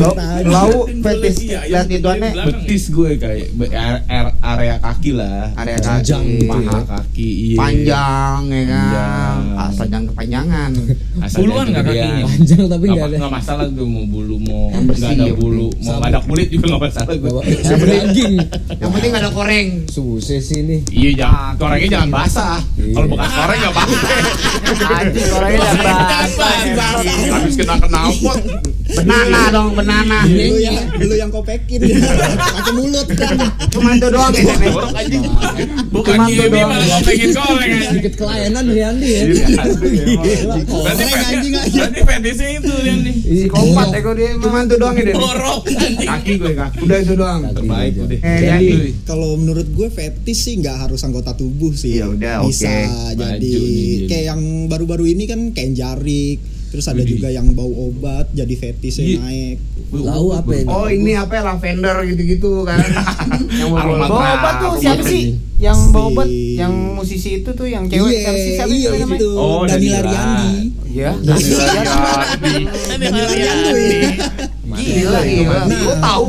S4: Lau- Lau fetish lihat itu aneh.
S5: Betis gue kayak be- are- are- area kaki lah.
S4: Area
S9: Jajang
S4: kaki,
S9: gitu
S5: Paha
S4: paha
S5: kaki. Iya.
S4: panjang ya kan.
S5: Panjang.
S4: Asal jangan kepanjangan.
S5: Asal
S7: Buluan
S5: jangan
S7: nggak
S5: gedean.
S7: kakinya?
S9: Panjang tapi
S5: Nggak
S9: nggak
S5: ma-
S9: ada.
S5: nggak masalah gue mau bulu mau
S4: Yang bersih,
S5: nggak ada
S4: yang
S5: bulu
S4: penting.
S5: mau
S9: Sama.
S5: nggak ada kulit juga nggak masalah gue.
S9: Bawa daging.
S4: Yang penting ada koreng.
S9: Susah sih nih.
S5: Iya jangan korengnya jangan basah.
S9: Iya.
S5: Kalau bekas koreng nggak pakai.
S3: Anjing orangnya udah basah.
S5: Habis kena Iya. knalpot.
S4: Benana dong, benana.
S6: lu yang lu yang kopekin Iya. pakai mulut kan
S4: Cuma itu doang ya. Den.
S5: Jorok anjing.
S7: Bukan
S4: Cuman
S7: dia
S4: doang.
S7: malah gua pengen goreng anjing.
S9: Sedikit kelayanan Riandi
S5: Iya.
S9: ya.
S7: Berarti
S6: Goreng anjing
S7: fetish-
S6: aja
S7: berarti fetishnya itu dia nih.
S3: Kompat ego dia emang.
S4: Cuma itu doang ya. Den.
S7: Borok anjing.
S5: Kaki gue kaki.
S4: Udah itu doang.
S5: Terbaik udah.
S4: Eh,
S9: Jadi,
S4: Yandi.
S6: kalau menurut gue fetish sih nggak harus anggota tubuh sih
S4: Ya udah,
S6: bisa
S4: oke.
S6: jadi
S5: Maju
S9: Iya.
S5: nih,
S6: kayak yang baru-baru ini kan kain jarik terus ada
S5: Widih.
S6: juga yang bau obat jadi fetish
S5: Iya.
S6: yang naik
S9: Lau apa ya?
S4: Oh ini apa ya, lavender gitu-gitu kan Yang mau
S5: Aroma
S3: Bawa obat tuh siapa sih? Yang bawa obat, yang musisi itu tuh, yang cewek,
S6: iya
S3: siapa sih? Siapa sih
S6: iya
S3: namanya?
S6: itu
S5: Oh, Danila.
S6: Danila Riandi
S4: Iya.
S3: Ya.
S6: Danila Riandi
S3: Gila, gitu. gila.
S6: Nah.
S3: Gua tahu.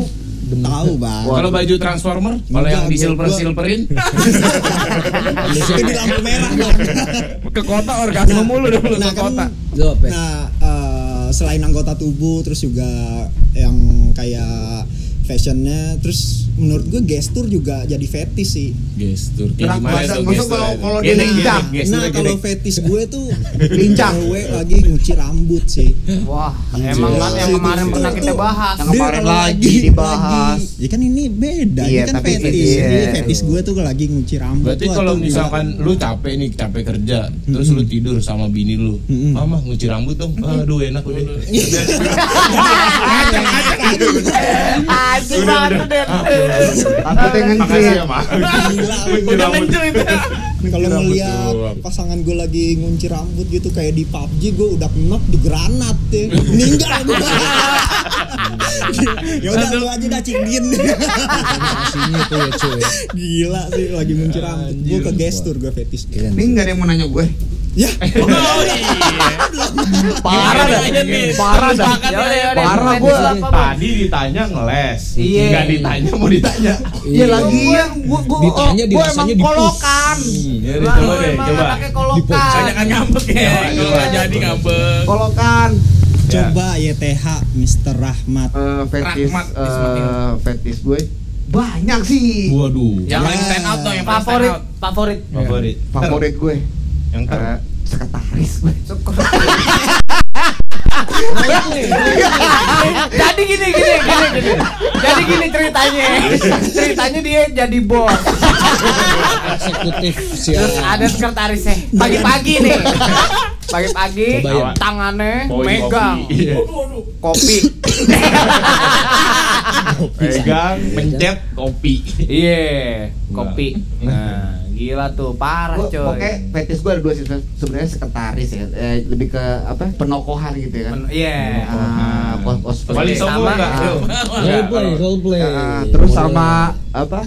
S6: tahu bang
S5: Kalau baju transformer, kalau yang di silver silverin,
S6: itu di lampu merah bang
S5: ke kota orgasme mulu dulu
S6: nah kan
S9: Jawab ya.
S6: nah eh, selain anggota tubuh terus juga yang kayak fashionnya terus menurut gue gestur juga jadi fetish sih
S5: gestur kayak
S4: Gerak
S5: gimana
S4: badan,
S5: tuh
S4: maksud
S5: gestur
S4: kalau-
S5: itu?
S4: kalau
S5: Gini,
S4: dia
S5: gini,
S4: lincah.
S5: gestur
S6: nah
S5: gini.
S6: kalau fetish gue tuh
S4: Lincah.
S6: cewek lagi nguci rambut sih
S3: Wah, emang kan yang kemarin
S6: Itu-
S3: pernah
S6: itu-
S3: kita bahas.
S4: Yang kemarin
S6: kalau
S4: lagi dibahas.
S6: lagi- ya kan ini beda
S4: Iya,
S6: ini kan
S4: tapi
S6: fetish
S4: fetish,
S6: ini
S4: iya.
S6: fetish gue tuh lagi nguci rambut
S5: Berarti
S6: Wah,
S5: kalau
S6: tuh gila.
S5: misalkan lu capek nih, capek kerja, terus lu tidur sama bini lu,
S6: Mm-mm.
S5: mama nguci rambut dong, aduh enak udah.
S3: Anjing banget tuh, Den.
S4: Aku pengen
S5: Makasih ya mak.
S6: Gila,
S5: Nguci rambut.
S6: kalau
S5: Rambut
S6: ngeliat
S5: doang.
S6: pasangan gue lagi ngunci rambut gitu kayak di PUBG gue udah knock di granat ya meninggal gue ya udah lu aja dah cingin
S9: Aslinya tuh ya cuy.
S6: gila sih lagi ngunci rambut gue ke gestur gue fetish
S9: Keren.
S4: Ini nggak ada yang mau nanya gue.
S6: ya
S3: Parah dah. Parah dah.
S4: Parah
S3: Fetish
S4: gua.
S3: apa, Bang?
S5: Tadi ditanya ngeles,
S3: Iya.
S5: nggak ditanya mau ditanya.
S4: Ya lagi ya, gue gue
S9: Ditanya dirasanya dipus.
S4: kolokan.
S5: Ya,
S3: Lah,
S5: coba
S3: lu
S5: deh,
S3: emang
S5: coba.
S3: anaknya kolokan.
S8: Banyak ngambek ya. Kalau nggak jadi ngambek.
S4: Kolokan.
S6: coba YTH Mr. Rahmat
S4: Eh, Fetis,
S8: Rahmat
S4: eh,
S8: Ismail.
S4: fetis gue banyak sih
S5: Waduh.
S8: Yang paling stand out dong, yang paling stand
S3: Favorit,
S8: out.
S3: favorit.
S5: Favorit.
S4: favorit gue.
S5: Ter- Yang ter.
S4: Eh, sekretaris gue.
S3: Eh, jadi gini gini gini gini jadi gini ceritanya ceritanya dia jadi bos
S9: Eksekutif
S3: terus
S9: siapa?
S3: ada sekretarisnya pagi-pagi nih pagi-pagi
S9: Kebayang.
S3: tangannya
S5: Bawain
S3: megang
S5: kopi. Iya.
S3: kopi
S5: Pegang, pencet, kopi.
S3: iya kopi nah gila tuh parah
S4: Gua- Pokoknya
S3: coy
S4: fetis gue ada dua sih Seb. sebenarnya sekretaris ya, eh, lebih ke apa penokohan gitu ya kan.
S3: Men- iya
S4: Ah, kos kos
S5: Paling sombong
S3: Sama.
S5: nggak? Yuk.
S8: iya.
S9: Roleplay,
S6: iya.
S9: roleplay.
S4: terus
S9: Model.
S4: sama apa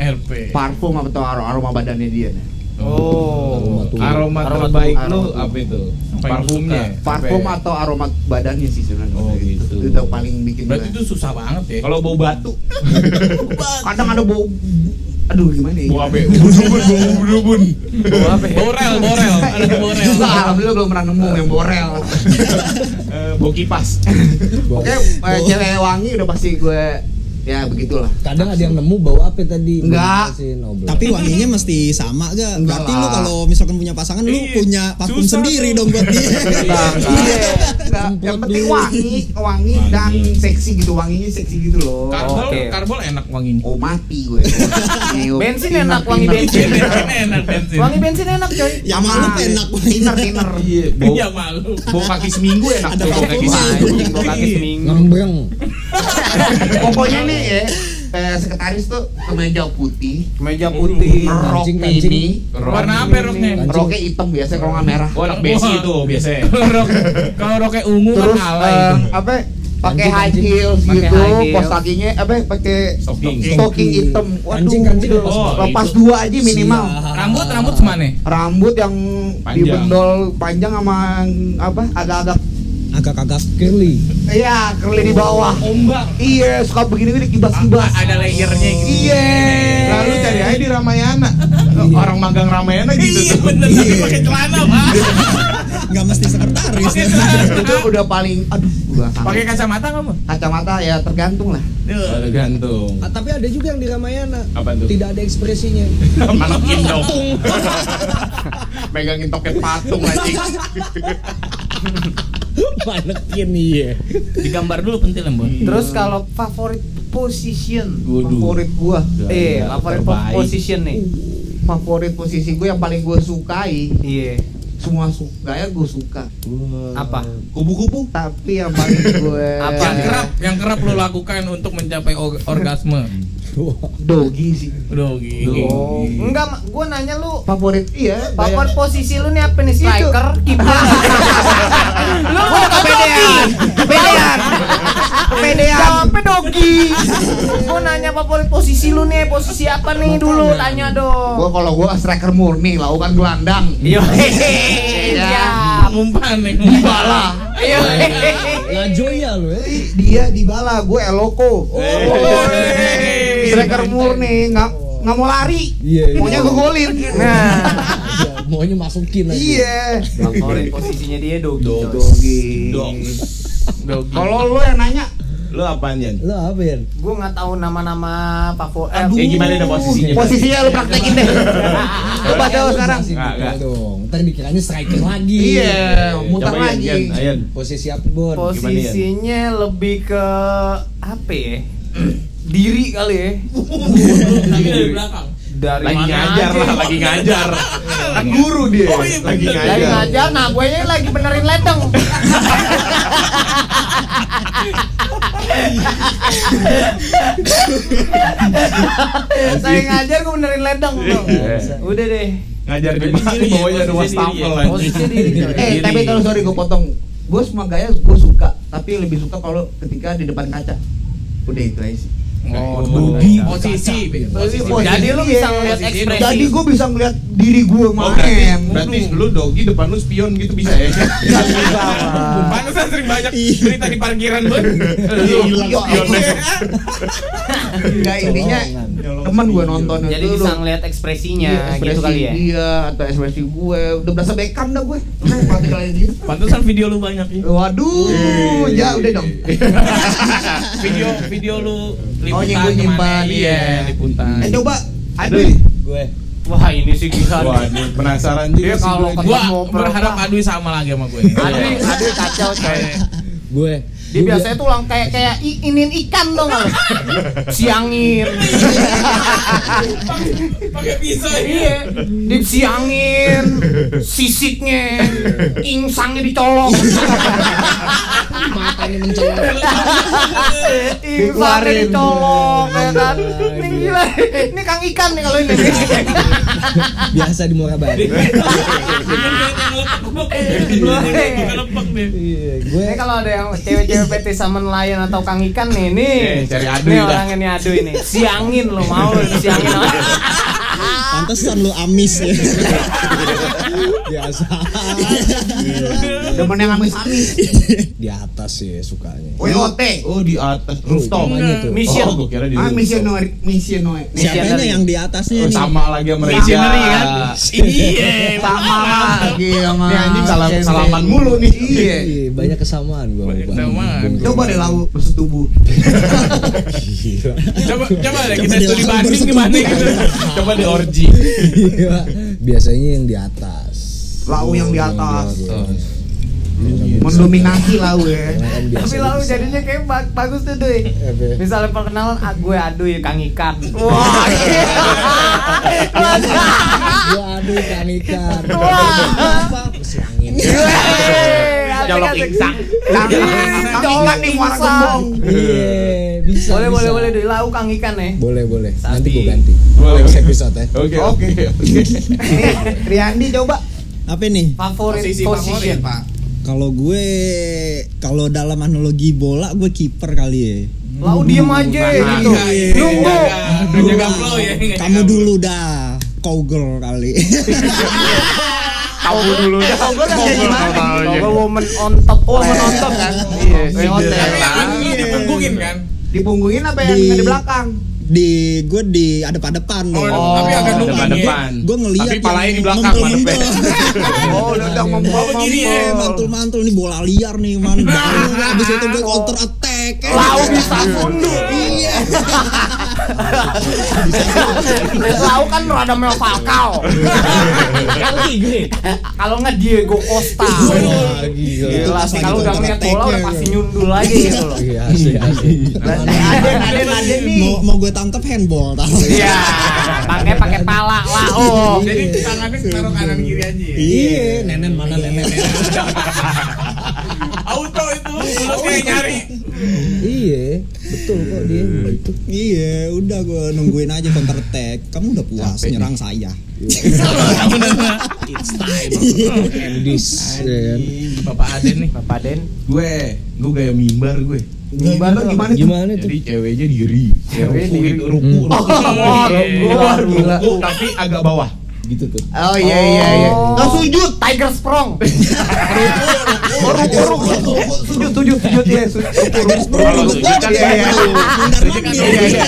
S8: RP.
S4: parfum atau aroma, aroma badannya dia. nih.
S3: oh
S5: Aroma
S3: Aroma
S5: terbaik
S4: tubuh.
S5: lu
S4: Aroma
S5: apa itu?
S8: Apa yang lu
S5: Parfumnya.
S8: suka?
S4: Parfum
S5: Apa?
S4: atau aroma badannya sih sebenarnya.
S5: Oh,
S4: itu,
S5: gitu.
S4: itu yang paling bikin
S8: Berarti
S4: gue.
S8: itu susah banget ya.
S5: Kalau bau batu,
S4: kadang ada bau aduh gimana ya?
S5: bau apa? Ubun-ubun, bau ubun-ubun.
S8: Borel, borel, ada borel.
S4: Gua alhamdulillah belum pernah nemu yang borel.
S5: Eh, Bau kipas.
S4: Oke, eh, cewek wangi udah pasti gue ya begitulah.
S9: Kadang ada yang nemu bawa apa tadi?
S4: Enggak.
S9: Kasih Nobel.
S6: tapi wanginya mesti sama gak?
S4: Enggak
S6: Berarti lu
S4: lah.
S6: kalau misalkan punya pasangan lu
S8: Iya,
S6: punya parfum
S8: susah
S6: sendiri
S8: tuh.
S6: dong buat dia.
S4: Enggak, enggak.
S3: Iya.
S4: Enggak, Iya. Nah, yang
S9: Semprot
S4: penting
S9: dulu.
S4: wangi, wangi dan seksi gitu, wanginya seksi gitu loh.
S8: Karbol,
S3: Oke.
S8: karbol enak wanginya.
S4: Oh mati gue. Ngeyok,
S3: Bensin
S4: tiner,
S3: enak, wangi
S4: tiner,
S3: bensin.
S4: tiner.
S8: enak bensin.
S3: wangi bensin enak coy
S6: Ya malu
S4: Ah,
S6: enak
S4: Tiner, tiner.
S5: Iya, bau
S8: Ya malu.
S5: bau kaki seminggu enak
S6: Ada
S5: tuh bau
S6: bau
S5: kaki
S6: bau.
S5: seminggu.
S3: anjing gua kaki seminggu
S9: Ngembreng.
S4: Pokoknya nih ya, eh, sekretaris tuh kemeja putih,
S3: meja putih
S4: rok
S9: Kancing, kancing.
S4: mini,
S8: Warna apa
S7: ya
S8: roknya?
S4: roknya hitam biasa kalau nggak merah.
S5: Oh, anak besi itu biasanya.
S8: Kalau rok, kalau roknya ungu
S4: terus
S8: kan alay.
S4: eh, apa pakai
S9: Kancing,
S4: high
S9: kancing.
S4: heels
S3: Pakai
S4: gitu
S3: high heels.
S4: pos kakinya apa pakai
S5: Stocking.
S4: stocking hitam waduh
S9: Kancing, kancing,
S4: udah.
S9: lepas
S5: dua.
S4: lepas
S3: Oh,
S4: dua aja minimal
S9: Iya.
S8: Rambut, rambut semane.
S4: rambut yang
S5: Panjang.
S4: dibendol panjang sama apa agak-agak
S6: Agak-agak
S9: Curly.
S4: iya curly di bawah
S5: Ombak.
S4: iya suka begini-gini kibas-kibas
S8: Ada layernya gitu.
S4: iya
S5: Lalu cari aja di Ramayana. Orang magang Ramayana gitu
S8: Iya
S5: tuh.
S8: bener, tapi pakai celana pak.
S6: nggak mesti sekretaris.
S8: Pakai celana.
S4: itu udah paling aduh gua kangen.
S8: Pakai kan? kacamata kamu?
S4: kacamata ya tergantung lah
S5: Oh, Tergantung.
S9: Ah, tapi ada juga yang di Ramayana.
S5: Apa tuh?
S9: Tidak ada ekspresinya.
S5: Manokin dong. Megangin toket patung anjing.
S9: Manekin iya.
S8: Digambar dulu pentil mbak.
S3: terus kalau favorit position
S4: favorit gua
S3: eh
S4: iya,
S3: favorit
S5: terbaik.
S3: position nih
S4: favorit posisi gua yang paling gua sukai
S3: iya
S4: semua su gaya gue suka
S3: apa
S4: kupu-kupu tapi yang paling gue
S3: Apa?
S8: Yang kerap, yang kerap lo lakukan untuk mencapai or- orgasme.
S4: dogi sih
S8: Dogi.
S3: oh enggak Ma. gua nanya lu
S4: favorit iya
S3: Favorit
S4: gaya-
S3: posisi lu nih apa nih striker, kiper? lu udah kepedean, kepedean, kepedean. Siapa dogi? Gua nanya favorit posisi lu nih, posisi apa nih dulu? Tanya
S4: gua
S3: dong.
S4: kalau gue striker murni lau kan gelandang
S3: Yo, hehehe, siap.
S8: Ngumpan nih.
S4: Dybala
S3: Ayo, hehehe.
S9: La Joya lu ya.
S4: dia Dybala gue eloko Oh,
S8: Hey.
S4: striker murni nggak nggak mau lari
S9: Iya, iya.
S4: maunya gue golin
S3: Nah,
S9: Ya, Maunya masukin aja.
S4: iya
S3: favorit posisinya dia dogi. coy.
S4: dogi
S5: Dong.
S4: kalau lu yang nanya
S5: Lu apaan Jan?
S9: Lo apa ya?
S3: Gue nggak tahu nama-nama Pavo. Eh,
S5: Eh gimana deh posisinya?
S4: Posisinya lu praktekin deh. Lu baca lu sekarang.
S5: Nggak, nggak.
S9: dong. Ntar dikiranya striker lagi.
S4: Iya, muter
S5: Coba Yan, Yan,
S4: lagi.
S5: Yan.
S9: Posisi apa, Bon?
S3: Oh, posisinya lebih ke apa ya? Diri kali ya.
S8: Tapi dari belakang.
S3: Dari
S5: Lagi
S3: mana
S5: ngajar
S3: aja.
S5: lah, lagi ngajar. Kan guru dia. Lagi
S3: Lagi
S4: Iya.
S5: ngajar.
S3: ngajar, nah gue lagi benerin ledeng. Saya ngajar gue benerin ledeng tuh.
S4: Iya.
S3: Udah deh.
S5: Ngajar di mana? Di bawahnya ada wastafel lagi.
S3: Posisi diri.
S4: Eh, tapi kalau sorry gue potong. Gue semua gaya gue suka, tapi lebih suka kalau ketika di depan kaca. Udah itu aja sih.
S5: Oh,
S6: Rugi.
S8: Posisi.
S4: Posisi,
S8: Posisi.
S3: Jadi lu bisa
S4: iya.
S3: ngeliat ekspresi.
S4: Jadi gue bisa ngeliat diri gue
S5: Oh, berarti,
S4: main.
S5: berarti lu dogi depan lu spion gitu bisa ya?
S8: Pantesan sering banyak cerita di parkiran, Bun.
S5: Lu
S4: Iya,
S5: spion ya. deh.
S4: Enggak intinya temen gue nonton
S3: Jadi
S4: itu
S3: bisa
S4: lu-
S3: ngeliat ekspresinya
S4: Iya,
S3: gitu
S4: ekspresi
S3: kali ya.
S4: Dia atau ekspresi gue udah berasa Beckham dah gue. Nah, praktikal ini.
S8: Pantesan video lu banyak ya.
S4: Waduh, ya udah dong.
S8: Video video lu liputan
S4: Oh, nyimpen- nyimpen,
S8: kemana?
S4: iya.
S8: Iya, liputan.
S4: Eh coba ada
S5: ya?
S9: Gue.
S3: Wah ini sih kisah.
S5: Waduh, penasaran
S3: Dia
S5: juga sih
S3: kalau
S5: gua.
S3: ketemu
S8: Iya, Gua
S3: berharap
S8: berharap Adwi sama lagi sama gue.
S3: Adri, Adri kacau coy.
S9: Gue.
S3: Dia biasanya tuh lang kayak kayak i- inin ikan dong kalau siangin.
S8: Pakai pisau.
S3: iya, dipsiangin, sisiknya, insangnya dicolok.
S9: Matanya mencolok.
S3: Insangnya dicolok ya kan.
S4: Iya,
S3: Ini gila. Ini Kang Ikan nih kalau ini.
S6: biasa di Morabari. Iya, gue
S3: Ini kalau ada yang cewek-cewek PT sama nelayan atau Kang Ikan nih, nih.
S5: Eh, cari Adri
S3: Nih
S5: dah.
S3: orang ini adu ini. Siangin lo mau lo siangin.
S6: pantesan lu amis ya. biasa.
S4: demen yang amis-amis.
S9: Di atas sih sukanya.
S4: OYOT.
S5: Oh di atas rooftop.
S9: Namanya tuh.
S3: Mission.
S5: Oh, gua kira di
S4: Ah,
S5: rooftop.
S4: misionary, misionary.
S6: Siapanya
S3: Missionary.
S6: yang di
S9: Oh,
S6: atasnya nih?
S5: Sama lagi sama Reza.
S8: Visionary kan? Iya.
S4: Sama lagi sama.
S5: Ini anjing salam
S4: Jen-
S5: salaman mulu nih.
S4: Iya.
S9: Iya, banyak kesamaan gue.
S8: Banyak kesamaan.
S4: Coba deh lau bersetubuh.
S8: Coba coba deh
S6: Coba
S8: kita
S6: dia
S8: studi
S6: langsung
S8: banding gimana gitu.
S5: Coba di orgy.
S9: Iya, biasanya yang di atas.
S4: Lau yang di atas. Oh.
S9: Yang di atas.
S4: Mendominasi lau ya.
S9: Karena kan
S3: Tapi
S9: biasanya
S3: lalu
S9: bisa.
S3: jadinya kayak ba- bagus tuh Duy
S9: Apa?
S3: Misalnya perkenalan ah, gue aduh ya Kang Ikan. Wah. iya.
S9: Waduh kan ikan. Apa? Mesin angin.
S3: Yeay, asik,
S5: Colok
S3: asik.
S5: insang.
S4: Kang
S3: Iya,
S4: Kang Ikan nih muara
S3: insang.
S4: gembong.
S9: Iya, bisa.
S3: Boleh
S9: bisa.
S3: boleh boleh Duy lau Kang Ikan ya.
S9: Boleh, boleh. Nanti
S8: Sabi.
S9: gue ganti.
S5: Boleh.
S9: Next episode ya.
S5: Oke oke.
S4: Nih, Riyandi coba.
S6: Apa nih?
S3: Favorit
S8: Posisi
S3: position.
S8: favorit, Pak.
S6: Kalau gue kalau dalam analogi bola gue kiper kali ya.
S3: Lau diem aja gitu.
S8: Iya.
S3: Nunggu.
S8: Nggak Jaga flow ya. nggak
S6: Kamu
S5: Iya.
S8: jaga
S6: dulu dah. Cowgirl kali.
S5: Tahu dulu dah.
S3: Kalau gue
S5: Tahu
S3: kayak gimana?
S5: tahu
S3: Kalau
S5: aja.
S3: gue woman on top. Oh, woman on top kan. Iya,
S8: flow. Tapi
S4: Iya.
S8: dipunggungin kan.
S4: Dipunggungin apa ya? yang
S6: Di-
S4: di belakang?
S6: di gue di ada pada depan
S8: Oh, tapi agak nunggu.
S5: depan depan.
S6: Gue ngeliat
S5: Tapi palanya
S6: yang
S5: di belakang madepnya.
S4: Oh, udah udah ngomong.
S8: begini ya,
S6: Eh, mantul-mantul nih bola liar nih man. Baru abis itu gue counter attack.
S3: Lau bisa mundur.
S6: Iya.
S3: Lau kan rada mel Falcao. Kalau nggak Diego Costa.
S9: Gila.
S6: Itu
S3: Gila
S6: pas
S3: sih
S6: lagi
S3: kalau udah ngeliat bola udah
S6: counter-attack-nya.
S3: pasti nyundul aja gitu loh.
S9: Iya, asik, asik.
S4: Aden, Aden, Aden nih.
S6: Mau mau gue tangkap handball tau.
S3: Iya, pakai pakai pala lah. Oh,
S8: Jadi tangannya taruh kanan kiri aja. ya?
S6: Iya, nenen mana nenen.
S8: Auto itu mulutnya nyari.
S9: Iya, betul kok dia
S5: Hmm.
S9: gitu.
S6: Iya, udah gue nungguin aja counter attack. Kamu udah puas nyerang saya.
S9: Endis,
S5: Iya,
S9: ya kan?
S8: Bapak Aden nih.
S3: Bapak Den.
S5: Gue gue gaya mimbar gue.
S4: Gimana gimana tuh?
S9: Gimana tuh? Hmm.
S5: Jadi ceweknya diri.
S3: Ceweknya
S5: Ruku
S3: diri.
S5: gitu, ruku. ruku.
S3: Oh,
S5: Keluar ruku tapi agak bawah. Gitu tuh.
S4: Oh iya iya iya. Nah, sujud.
S3: Tiger Sprong.
S4: Oh, ruku, ruku, ruku. Sujud, sujud, sujud ya. Sujud, ruku, ruku.
S5: Kalau sujud kan
S4: Iya, iya.
S5: gitu.
S6: Mandar
S5: Sujud kan
S6: mandir.
S5: gitu.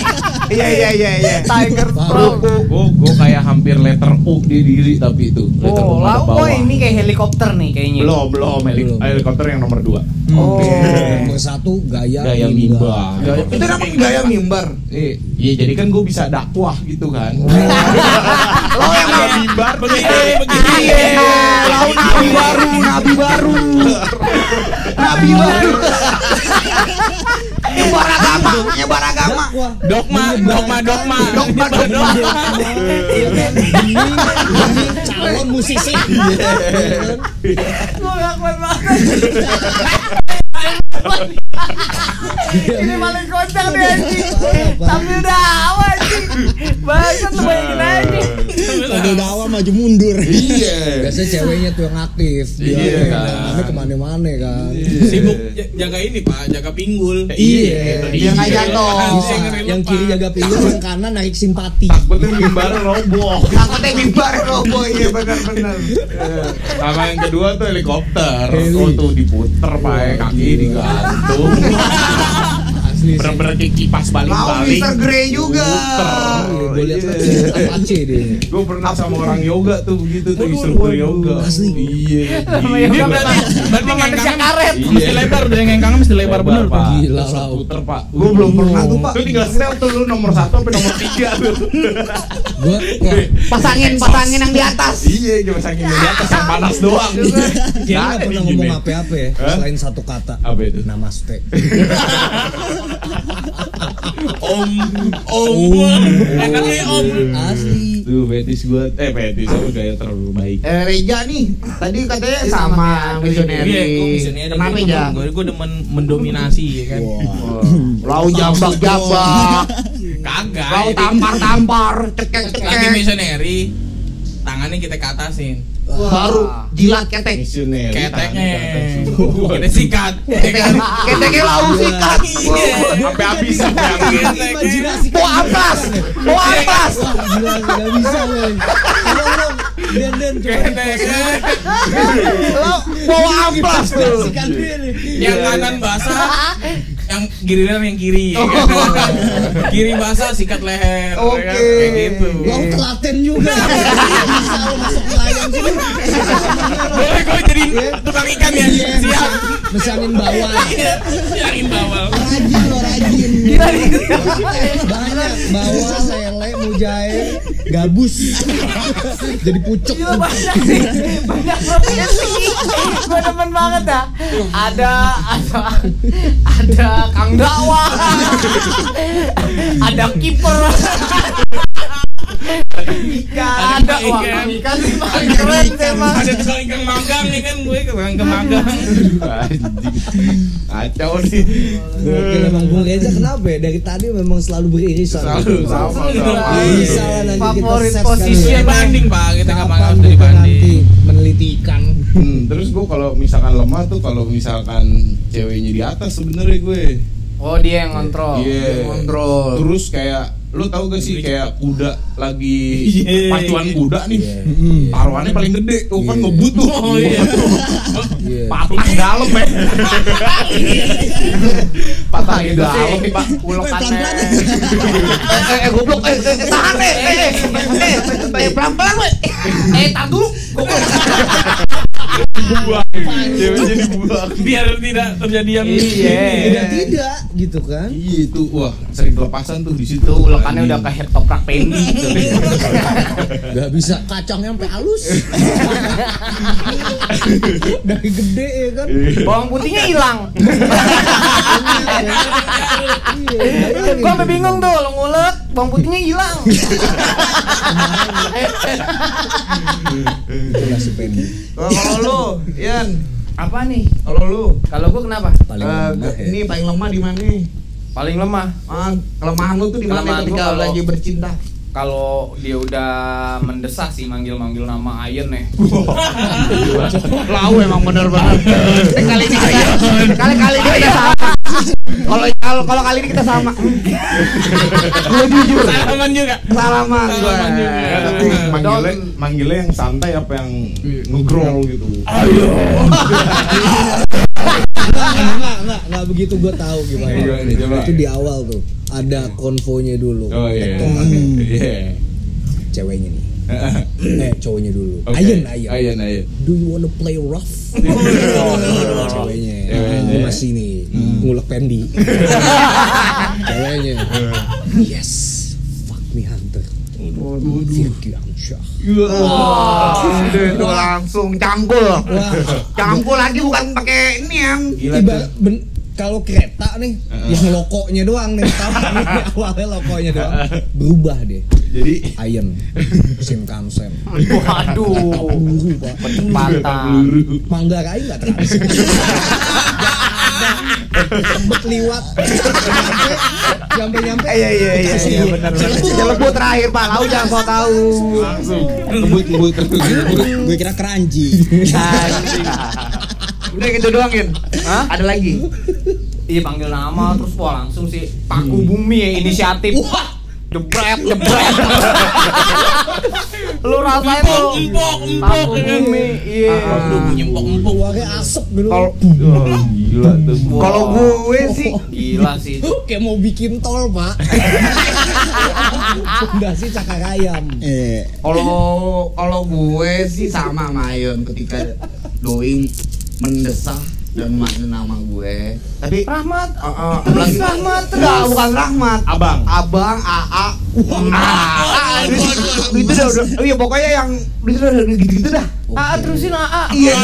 S4: Iya iya iya iya.
S3: Tiger Pro.
S5: Gue gue kayak hampir letter U di diri tapi itu letter
S3: Oh,
S5: U pada
S3: lalu oh
S5: bawah.
S3: ini kayak helikopter nih kayaknya.
S5: Belum belum heli-
S9: Belum.
S5: helikopter yang nomor 2
S3: Oh.
S9: Nomor satu
S3: Iya,
S9: gaya,
S5: Gaya
S9: mimbar.
S5: mimbar.
S4: Itu namanya gaya mimbar.
S5: Eh, Iya jadi kan gue bisa dakwah gitu kan.
S4: Lo yang
S5: Gaya mimbar begini begini.
S4: Iya, lau nabi baru, nabi baru. Nabi baru. Nyebar agama, nyebar agama.
S8: Dogma, dogma, dogma.
S4: Dogma, dogma.
S9: calon musisi
S3: Gua gak kuat banget. Ini paling kocak deh anjing. Sambil dakwah anjing. Bangsat lu bayangin aja.
S6: Sambil dawa maju mundur.
S5: Iya.
S9: biasanya ceweknya tuh yang aktif dia
S5: Iya,
S9: yang
S5: kan.
S9: dalamnya kemana-mana kan
S8: Sibuk j- jaga ini Pak, jaga pinggul.
S5: Iya.
S4: Dia nggak jatuh.
S9: Bisa. yang kiri jaga pinggul yang kanan narik simpati
S5: Takutnya mimbar roboh.
S4: Takutnya mimbar roboh, iya benar-benar.
S5: Iya. Sama yang kedua tuh helikopter.
S9: Iya,
S5: Oh tuh diputer pakai kaki digantung. Bener-bener kayak kipas
S4: Mau
S5: balik-balik.
S4: Mister Grey juga.
S9: gue lihat Apache Iya. dia
S5: Gue pernah sama orang yoga tuh begitu tuh instruktur yoga.
S9: Asli.
S5: Iya.
S3: Sama
S5: Iya,
S3: yoga.
S8: Dia berarti berarti
S3: Emang ada
S8: ngengkang.
S3: karet.
S5: Iya.
S7: Mesti lebar, udah yang ngengkang mesti lebar bener Pak.
S9: Gila,
S5: Terus
S9: Lau.
S5: puter pak
S4: Gue belum pernah tuh pak.
S5: Tuh tinggal setel tuh lu nomor satu sampai nomor tiga tuh
S9: gue
S4: Pasangin, pasangin yang di atas.
S5: Iya cuma saking di atas yang panas doang
S9: dia nggak pernah ngomong
S5: apa
S9: apa-apa ya
S5: Iya. Hah?
S9: selain satu kata
S5: Apa itu?
S9: namaste
S5: Om Eh, kan
S8: Om. Enaknya Eh, kan om.
S9: asli
S5: Tuh betis gua Eh betis apa gaya terlalu baik
S4: Eh, Reja nih, tadi katanya sama
S8: Iya, gua
S4: visionary.
S8: misioneri.
S4: Kenapa
S8: Gua
S4: ya?
S8: demen- Gua gua demen mendominasi ya kan.
S4: Lau jambak-jambak,
S8: Kagak.
S4: lau
S8: jadi-
S4: tampar-tampar,
S3: kan?
S8: Lagi
S4: cekek-cekek.
S8: misioneri tangannya kita ke atasin.
S4: Baru jilat ketek.
S5: Misioneri
S8: Keteknya kita sikat. ya kan?
S4: Keteknya lau sikat.
S8: Iya.
S5: Sampai habis sampai habis.
S9: imajinasi
S4: Mau amplas, mau amplas.
S9: gila nggak bisa men tolong dong dan dan
S8: Keteknya
S4: Lau mau amplas tuh.
S9: kan dia
S6: Iya.
S9: nih
S8: yang kanan basah yang kiri dalam yang kiri ya kan? kiri basah sikat leher ya kan?
S4: Oke.
S8: kayak gitu
S9: Lau telaten juga bisa lo masuk nelayan sini
S8: boleh gue jadi tukang ikan ya siap
S9: mesanin bawah
S8: siap imbawal
S9: rajin lo rajin
S3: Gila nih.
S9: banyak bawah lele mujair gabus jadi pucuk
S3: Gila banyak sih. Banyak profesi. Gua demen banget dah. Ada ada ada Kang Dawa. Ada kiper. Ikan, ada wah,
S8: ikan.
S3: ikan sih paling keren sih, emang.
S8: ada tukang ikan magang nih kan gue tukang ikan magang
S5: Kacau nih
S9: Gokil emang Bung Reza kenapa ya? Dari tadi memang selalu beririsan
S5: Selalu sama Hmm,
S9: Bisa lah nanti kita
S3: Favorit
S9: set
S3: posisi
S9: sekali.
S8: dia banding pak kita nggak
S9: Kapan kita
S8: magang dari
S9: nanti
S8: banding
S9: meneliti ikan
S5: Hmm, terus gue kalau misalkan lemah tuh kalau misalkan ceweknya di atas sebenarnya gue
S3: Oh dia yang kontrol.
S5: Iya. Terus kayak lu tahu gak sih kayak kuda lagi
S8: Iya.
S5: pacuan kuda nih.
S3: Iya.
S5: Taruhannya paling gede tuh kan ngebut tuh.
S8: oh iya
S3: Iya.
S5: Patah dalam ya. Patah
S4: gitu
S3: Itu sih,
S5: dalam Pak.
S3: Ulok
S9: pelan-pelan.
S3: kate.
S4: Eh, eh, eh, goblok, eh, eh, eh, tahan eh, eh, eh, eh, eh, pelan-pelan weh.
S3: Eh, tar dulu.
S5: Buang. Cewek Iya, jadi buang.
S8: biar tidak terjadi yang
S4: Iya.
S5: Eh.
S3: Iya.
S9: tidak tidak gitu kan
S5: Iya itu wah sering kelepasan tuh di situ.
S3: Tuh, ulekannya udah kayak toprak pendi.
S9: nggak bisa kacangnya sampai halus dari gede ya kan
S3: Bawang putihnya hilang.
S9: Iya, bayangin.
S3: Gua sampe bingung tuh, lo ngulek, bawang putihnya hilang.
S9: Itulah si Penny
S4: Nah, Kalau lu, Yan,
S3: Apa nih?
S4: kalau lu
S3: Kalau gua kenapa?
S9: paling
S4: eh,
S9: lemah ya.
S4: ini paling lemah di mana?
S3: Paling lemah.
S4: Ah, kelemahan lu tuh di
S3: Kelemahan
S4: mana
S3: gua
S4: ketika lu
S3: kalau-
S4: lagi bercinta?
S3: Kalau dia udah mendesah sih manggil-manggil nama Ayen ya. nih.
S4: Lau emang bener banget. Eh, kali ini kita kali kali ini kita sama. Kalau kalau kalau kali ini kita sama. Gue jujur.
S8: salaman juga
S4: Salaman gue.
S8: Salaman juga.
S5: Ya, tapi manggilnya, manggilnya yang santai apa yang ngegrol gitu. Ayo.
S9: Enggak, enggak, enggak, enggak begitu gue tahu gimana.
S5: Gimana nih, gitu, coba.
S9: iya, Itu di awal tuh ada konvonya dulu.
S5: iya. Oh iya. Iya.
S9: Ceweknya nih. Eh, cowoknya dulu.
S5: Oke.
S9: Ayen, Ayen.
S5: Ayen, Ayen.
S9: Do you wanna play rough? Oh, iya, Ceweknya.
S5: Ceweknya.
S9: Gue masih nih ngulek pendi. Ceweknya. Yes. Fuck me hunter. Firdian Syah.
S4: Udah, itu langsung cangkul. Cangkul lagi bukan pakai ini yang
S5: Gila
S9: Tiba
S5: tuh.
S9: ben- kalau kereta nih yang lokonya doang nih pertama nih, awalnya lokonya doang berubah deh
S5: Jadi
S9: Iron Shinkansen
S3: Waduh.
S9: peluru pak
S3: Kecepatan.
S9: Manggarai nggak terlalu Tembet liwat nyampe nyampe
S4: Iya iya iya iya benar benar. Celebut terakhir Pak, lau jangan mau tahu.
S5: langsung ngebut ngebut ngebut.
S6: gue kira keranji
S4: Udah gitu doang, Yin.
S3: Hah?
S4: Ada lagi.
S3: Iya panggil nama terus wah langsung sih Paku Bumi ya inisiatif. Wah. Jebret, jebret. lu rasain lu.
S8: empok, empok.
S3: Paku Bumi. Iya.
S8: Aduh, nyempok empok.
S9: keluarnya asap dulu
S4: Kalau
S5: Wah, Oh, Gila tuh.
S4: kalau gue sih
S3: Oh, Gila sih.
S9: kayak mau bikin tol pak fondasi cakar ayam
S6: eh
S4: kalau kalau gue sih sama Mayon ketika Doing mendesah dan manggil nama gue. Tapi
S3: Rahmat.
S4: Uh, uh, lagi-
S3: Rahmat, terus.
S4: Enggak, bukan Rahmat.
S5: Abang.
S4: Abang, AA. AA. Itu udah udah. Oh iya, pokoknya yang itu udah udah gitu-gitu dah.
S3: Aa Ah, terusin Aa.
S4: Iya,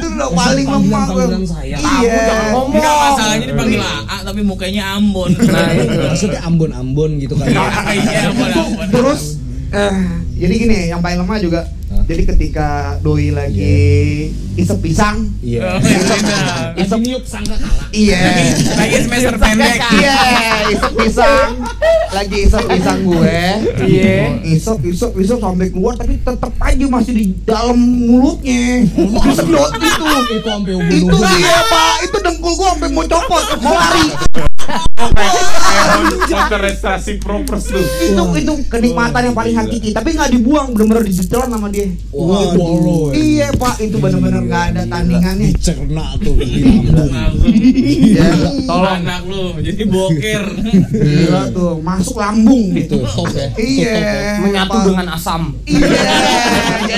S4: itu udah paling lemah.
S9: panggilan sayang.
S4: Iya.
S3: jangan ngomong.
S8: Enggak masalahnya dipanggil AA tapi mukanya Ambon.
S3: Nah, itu.
S9: Iya. maksudnya ambon-ambon gitu kan
S8: Iya, Ambon, Ambon.
S4: Terus eh jadi gini, yang paling lemah juga
S9: Hah?
S4: jadi ketika doi lagi isep pisang,
S9: iya
S4: isep niup
S9: kan,
S4: sangka kalah. Iya.
S8: Lagi semester pendek.
S4: Iya, isep pisang. Lagi isep pisang gue.
S3: Iya.
S4: Isep, isep, isep sampai keluar tapi tetep aja masih di dalam mulutnya. Disedot gitu.
S9: itu sampai
S4: Itu
S9: ubun-ubun
S4: iya, Pak. Itu dengkul gue sampai mau copot, mau lari.
S5: Motor restorasi propers tuh.
S4: Itu itu kenikmatan yang paling hakiki, tapi nggak dibuang, bener-bener disetelan sama dia.
S9: Waduh.
S4: Iya, Pak. Itu bener-bener nggak ada tandingannya.
S9: dicerna tuh di lambung
S4: Iya.
S8: Tolong anak lu jadi boker.
S4: Gila tuh, masuk lambung gitu.
S9: tuh top ya
S4: Iya.
S3: Menyatu
S4: Pak.
S3: dengan asam.
S4: Iya,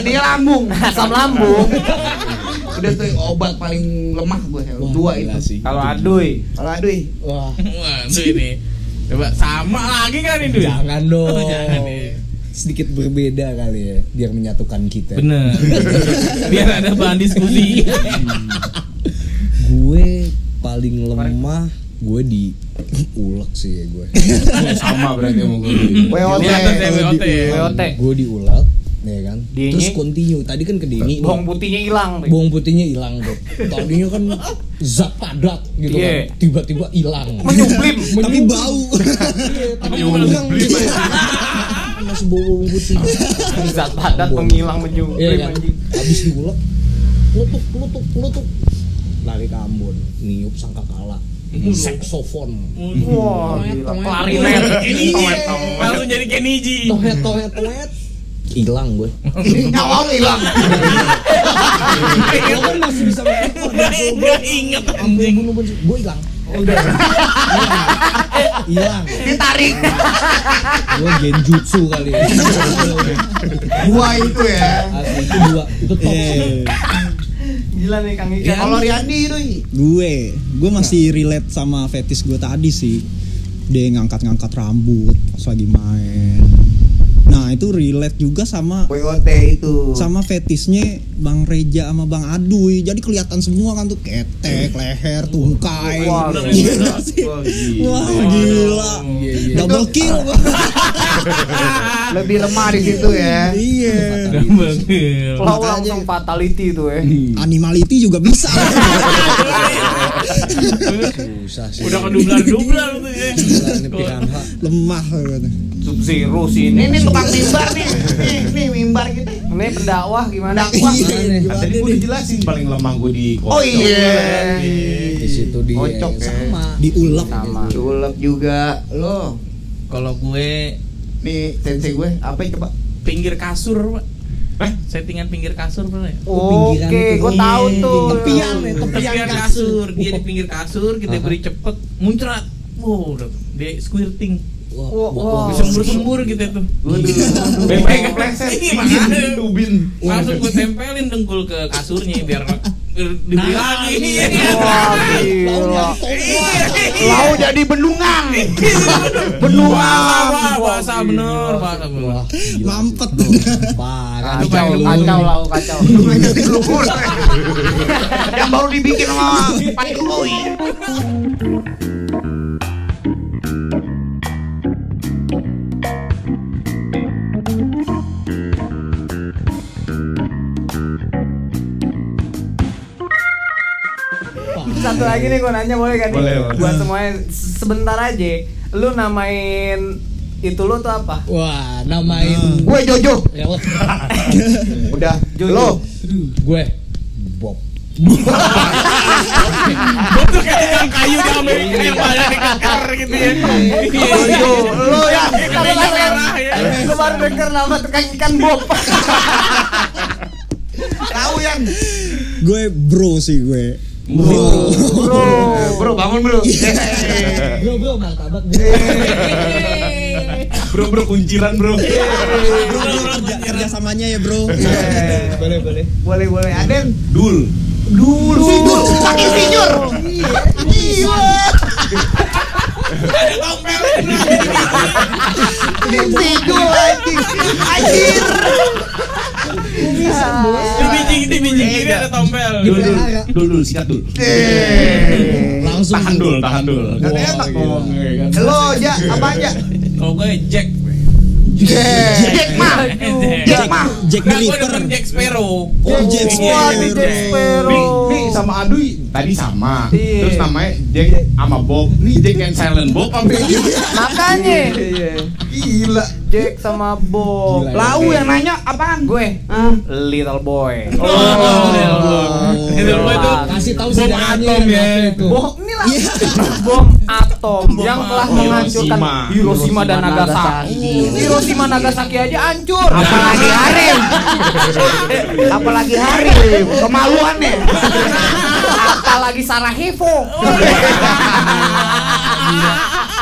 S4: jadi lambung.
S3: Asam lambung.
S4: Udah tuh obat paling lemah gue, dua itu.
S9: sih
S3: Kalau aduy.
S4: Kalau aduh,
S9: wah
S8: Wah, itu ini. Coba sama lagi kan ini. Dwi?
S9: jangan dong
S8: Oh, jangan deh.
S9: sedikit berbeda kali ya biar menyatukan kita
S8: Bener. Biar ada bahan diskusi.
S9: gue paling lemah gue di ulek sih ya gue
S5: Sama berarti mau gue.
S4: WOT.
S8: Ini atas ya,
S4: gitu.
S8: WOT.
S3: WOT.
S9: gue di ulek ya kan
S3: Dinyi.
S9: terus continue tadi kan ke dini
S3: Bawang putihnya hilang. Pi.
S9: bohong putihnya hilang tuh tadinya kan zat padat gitu
S3: Iya.
S9: kan tiba-tiba hilang
S3: Menyublim.
S9: tapi bau tapi hilang masih bau bawang putih
S3: Zat padat menghilang menyublim.
S9: Iya kan?
S3: anjing.
S9: Habis diulek, lutuk, lutuk, lutuk. Lari ke Ambon, niup sangka kalah. Saksofon.
S3: Wah, gila.
S8: Klarinet.
S3: Klarinet.
S8: Toet, toet. Langsung jadi Keniji.
S9: Tohet, tohet, tohet. Hilang gue.
S4: nyawa lu hilang.
S9: Gue kan masih bisa
S8: Udah udah inget
S9: Ambon,
S8: anjing.
S9: bunuh, bunuh. Gue hilang. Hilang.
S4: Ditarik.
S9: Gue genjutsu kali ya.
S4: Gua itu ya.
S9: Asli, itu dua, itu top sih.
S3: Gila nih Kang Ika.
S4: Kalau Riyandi itu
S6: gue gue masih relate sama fetis gue tadi sih dia ngangkat-ngangkat rambut pas lagi main nah itu relate juga sama
S4: WOT itu.
S6: sama fetisnya Bang Reja sama Bang Adui jadi kelihatan semua kan tuh ketek leher tungkai
S3: Wah,
S6: Gila
S3: gila.
S6: sih.
S5: Wah,
S6: wah gila double kill
S4: Lebih lemah di situ ya.
S6: iya
S8: Bener.
S3: Kalau langsung fatality itu ya.
S6: animality juga bisa
S9: Susah sih.
S8: Udah kedublar-dublar tuh ya.
S9: Gila, ini piranha.
S6: lemah gitu.
S3: Sub Zero sih
S4: Ini
S3: ini.
S4: nih tukang mimbar nih. Nih, nih mimbar gitu. kita.
S3: Ini pendakwah gimana?
S4: Dakwah.
S3: iya.
S5: Ah, Tadi gue dijelasin paling lemah gue di
S4: Oh iya.
S9: Di situ dia
S4: Kocok ya.
S9: sama.
S6: diulek
S3: Sama.
S4: Culep juga lo.
S8: Kalau gue
S4: Nih sensei gue, apa ya, coba?
S8: pinggir kasur, Pak. Settingan pinggir kasur pernah ya?
S3: Oke, gue tahu tuh.
S6: Tepian ya, tepian
S8: Tepian
S6: kasur.
S8: kasur, dia di pinggir kasur, kita beri cepet, muncrat. Wow, udah. dia squirting.
S9: Wah,
S3: Wah,
S9: wah,
S3: wah.
S9: wah.
S8: Sembur-sembur gitu tuh.
S5: Bebek kepleset.
S8: Iya, makanya.
S5: Ubin.
S8: Langsung gue tempelin dengkul ke kasurnya biar biar dibeli lagi. Iya.
S3: Wah, gila.
S4: Lau jadi bendungan.
S8: Wah, wah, bahasa bener, bahasa bener.
S6: Mampet.
S9: Parah.
S3: Kacau,
S7: Aduh,
S3: kacau lah, oh, kacau.
S4: Bendungan jadi luhur. Yang baru dibikin sama Pak Jokowi.
S3: Satu lagi nih gue nanya boleh kan?
S5: Boleh, boleh.
S3: Buat semuanya se- sebentar aja. Lu namain itu lu tuh apa?
S9: Wah, namain
S4: Gue Jojo.
S9: Ya Allah.
S4: Udah,
S3: Jojo.
S4: lo.
S9: gue Bob.
S8: Betul kayak yang kayu di Amerika yang badan dikeker gitu ya.
S3: Jojo, lu ya.
S8: Katanya merah ya.
S3: Lu baru denger nama tukang ikan Bob.
S4: Tahu yang.
S6: Gue Eh, bro sih gue.
S3: Oh, Bro,
S4: Bro, bangun bro.
S3: Iya.
S9: Bro, bro, martabak.
S3: Iya.
S5: Bro bro kunciran bro.
S6: Bro, kerja, kerjasamanya ya bro.
S9: Boleh, boleh.
S3: boleh boleh. Aden,
S5: Dul.
S3: dulu.
S4: Pakai senior.
S3: Tigo anjing. Anjir.
S8: Di bijing, di bijing kiri ada tompel.
S5: Dul dul. Dul dul sikat dul.
S4: Eh.
S9: Eh.
S6: Langsung
S5: Tahan dul, tahan dul.
S4: Katanya tak
S5: Bohong, ya kan.
S4: Lo ya? ja, apa aja?
S8: Kalau gue Jack.
S4: Jack Ma. Jack Ma.
S6: Jack the
S8: Nah, gue
S6: Ripper.
S8: demen Jack Sparrow.
S6: Oh, Jack
S3: Wah, di Jack
S5: Nih,
S3: Sparrow.
S5: nih sama Adui tadi sama.
S3: Iya.
S5: Terus namanya Jack sama Bob. Nih Jack and Silent Bob apa gitu.
S3: Makanya.
S5: Gila.
S3: Jack sama Bob.
S9: ya.
S4: Lau yang nanya apaan?
S3: Gue Little Boy. Oh.
S5: Oh, Little Bob. Little Bob itu
S9: Kasih tahu
S5: Bom
S9: sejarahnya.
S5: atom ya itu.
S3: Bom inilah bom atom yang telah
S5: atom.
S3: menghancurkan
S5: Hiroshima.
S3: Hiroshima dan Nagasaki. Hiroshima Nagasaki aja hancur.
S4: Apalagi Harim. Apalagi Harim. Kemaluan ya.
S3: Apalagi Sarajevo.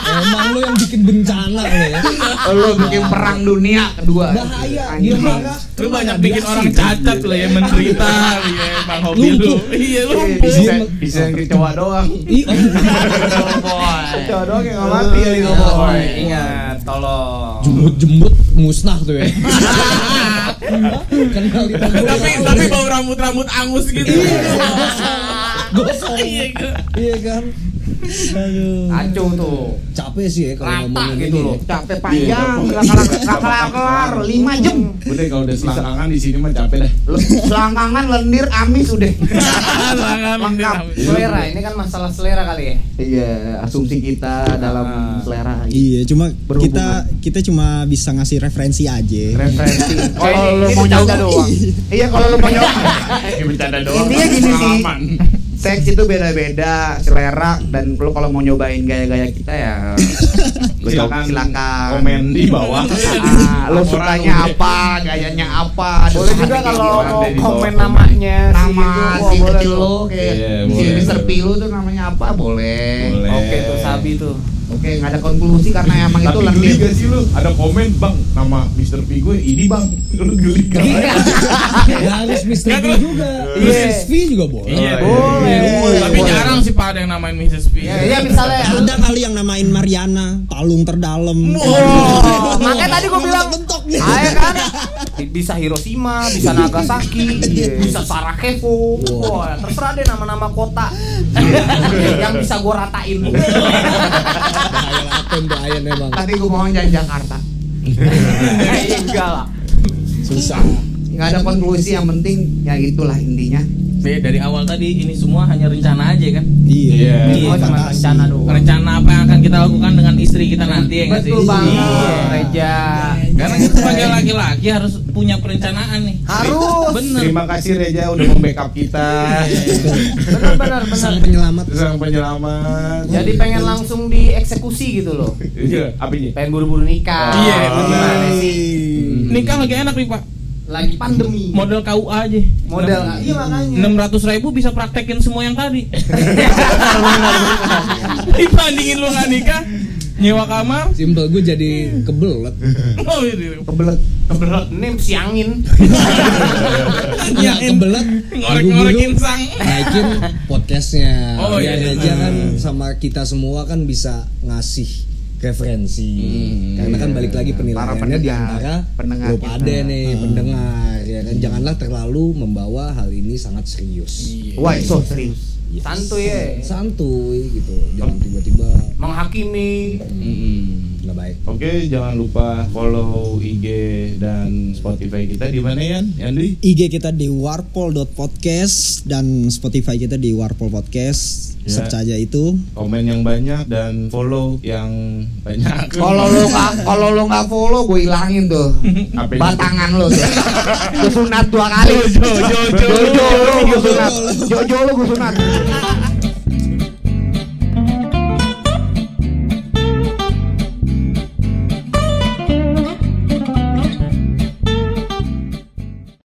S9: Emang lo yang bikin bencana lo ya.
S4: Lo bikin perang dunia kedua.
S9: Bahaya.
S4: Anjing.
S9: Gimana?
S8: Lu banyak bikin orang cacat lah ya menderita ya Bang Hobi lu. Iya lumpuh.
S5: Bisa bisa yang kecewa doang.
S8: Little Boy.
S4: Cowok doang yang nggak mati ya Little Boy.
S3: Ingat, tolong.
S9: Jembut-jembut musnah tuh ya. Kenal di tangan.
S8: Tapi tapi bau rambut-rambut angus gitu.
S9: gosong.
S8: Iya, gitu.
S9: Iya kan. Aduh.
S3: Acung tuh.
S9: Capek sih ya kalau
S3: Rata
S9: ngomongin
S3: gitu
S9: ini.
S3: loh.
S4: Capek panjang, nggak kelar- nggak kelar-kelar, lima jam.
S5: Udah kalau udah selangkangan di sini mah capek dah.
S4: Lo Selangkangan, lendir, amis udah.
S8: Lengkap.
S3: Selera, ini kan masalah selera kali ya.
S4: Iya, asumsi kita dalam selera.
S6: Iya, cuma
S4: Berhubungan.
S6: kita kita cuma bisa ngasih referensi aja.
S4: Referensi.
S3: Iya. Kayak
S4: Kalau lo
S3: ini
S4: mau
S3: bercanda
S4: nyoba
S3: doang.
S4: Iya, kalau lo mau nyoba.
S5: Ini bercanda doang.
S4: Intinya gini sih.
S5: Pengalaman.
S4: seks itu beda-beda selera dan lo kalau mau nyobain gaya-gaya kita ya lo
S5: Silakan,
S4: silakan, silakan.
S5: Iya. komen di bawah.
S4: Ah, lo
S5: Laporan
S4: sukanya
S5: udah.
S4: apa gayanya apa ada
S3: Boleh
S4: saat
S3: juga
S4: ini
S3: kalau
S5: orang
S3: mau
S5: dari bawah
S3: komen
S5: komen.
S3: namanya si itu,
S4: nama
S3: wah,
S4: si
S3: boleh
S4: kecil
S3: tuh.
S4: lo kayak
S5: Iya,
S4: si
S5: boleh.
S4: Mister P lo tuh namanya apa boleh
S5: Boleh.
S3: Oke tuh sabi tuh.
S4: oke nggak ada konklusi karena emang itu
S5: Tapi geli
S4: lendir
S5: gak sih lu? Ada komen bang, nama Mr. P gue ini bang Lu geli kan? gak?
S9: Gak harus Mr. P juga.
S3: Iya.
S9: Mrs. P juga boleh.
S8: Iya.
S3: Boleh.
S8: Tapi
S3: Boleh.
S8: jarang sih Pak ada yang namain Mrs. P.
S3: Ya, ya misalnya
S6: Ada kali yang namain Mariana, palung terdalam.
S3: Oh, makanya tadi gua bilang
S6: bentok
S3: Ayo kan bisa Hiroshima, bisa Nagasaki, bisa Sarajevo. Wah, terserah deh nama-nama kota yang bisa gua ratain.
S9: Bahaya atom tuh Ayan emang.
S4: tapi gue mau jangan Jakarta
S3: Eh, Enggak lah.
S9: Susah.
S4: nggak ada konklusi yang penting ya itulah intinya
S8: Be, dari awal tadi ini semua hanya rencana aja kan.
S5: Iya.
S6: Iya,
S3: Oh, cuma
S6: fantasi.
S3: rencana doang.
S8: Rencana apa yang akan kita lakukan dengan istri kita nanti ya nggak sih?
S3: Betul banget, Iya, Reja.
S8: Karena kita sebagai laki-laki harus punya perencanaan nih.
S3: Harus.
S8: Bener.
S5: Terima kasih Reja udah membackup kita
S3: Benar-benar benar.
S6: Sang penyelamat.
S5: Sang penyelamat
S3: Jadi pengen langsung dieksekusi gitu loh.
S5: Iya, apanya?
S3: Pengen buru-buru nikah.
S5: Iya,
S3: Gimana
S5: benar.
S3: sih?
S8: Nikah lagi enak nih Pak.
S3: lagi pandemi
S8: model KUA aja
S3: model iya makanya
S8: enam ratus ribu bisa praktekin semua yang tadi dibandingin lu nggak nikah nyewa kamar
S9: Simple gue jadi kebelet.
S8: oh, ini.
S4: kebelet
S3: kebelet ini si angin
S9: Iya kebelet.
S8: ngorek-ngorekin
S9: Guru-guru
S8: sang
S9: naikin podcastnya.
S8: Oh,
S9: Biar
S8: iya.
S9: aja kan sama kita semua kan bisa ngasih referensi karena kan balik lagi penilaiannya di
S4: pendengar,
S9: antara
S4: pendengar
S9: lo
S4: kita.
S9: pada nih pendengar ya kan janganlah terlalu membawa hal ini sangat serius
S4: why so serius
S9: Yes.
S3: Santuy, ya.
S9: santuy gitu jangan tiba-tiba
S3: menghakimi
S5: Hmm.
S9: nggak baik
S5: Oke, jangan lupa follow IG dan Spotify kita di mana Yan? Yandi?
S6: IG kita di warpol.podcast dan Spotify kita di warpol podcast.
S5: Ya.
S6: Search aja itu.
S5: Komen yang banyak dan follow yang banyak.
S4: kalau lo nggak kalau lo nggak follow gue ilangin tuh
S5: Apa ini?
S4: batangan lo tuh gue sunat dua kali jojo jojo lo gue sunat jojo lo gue sunat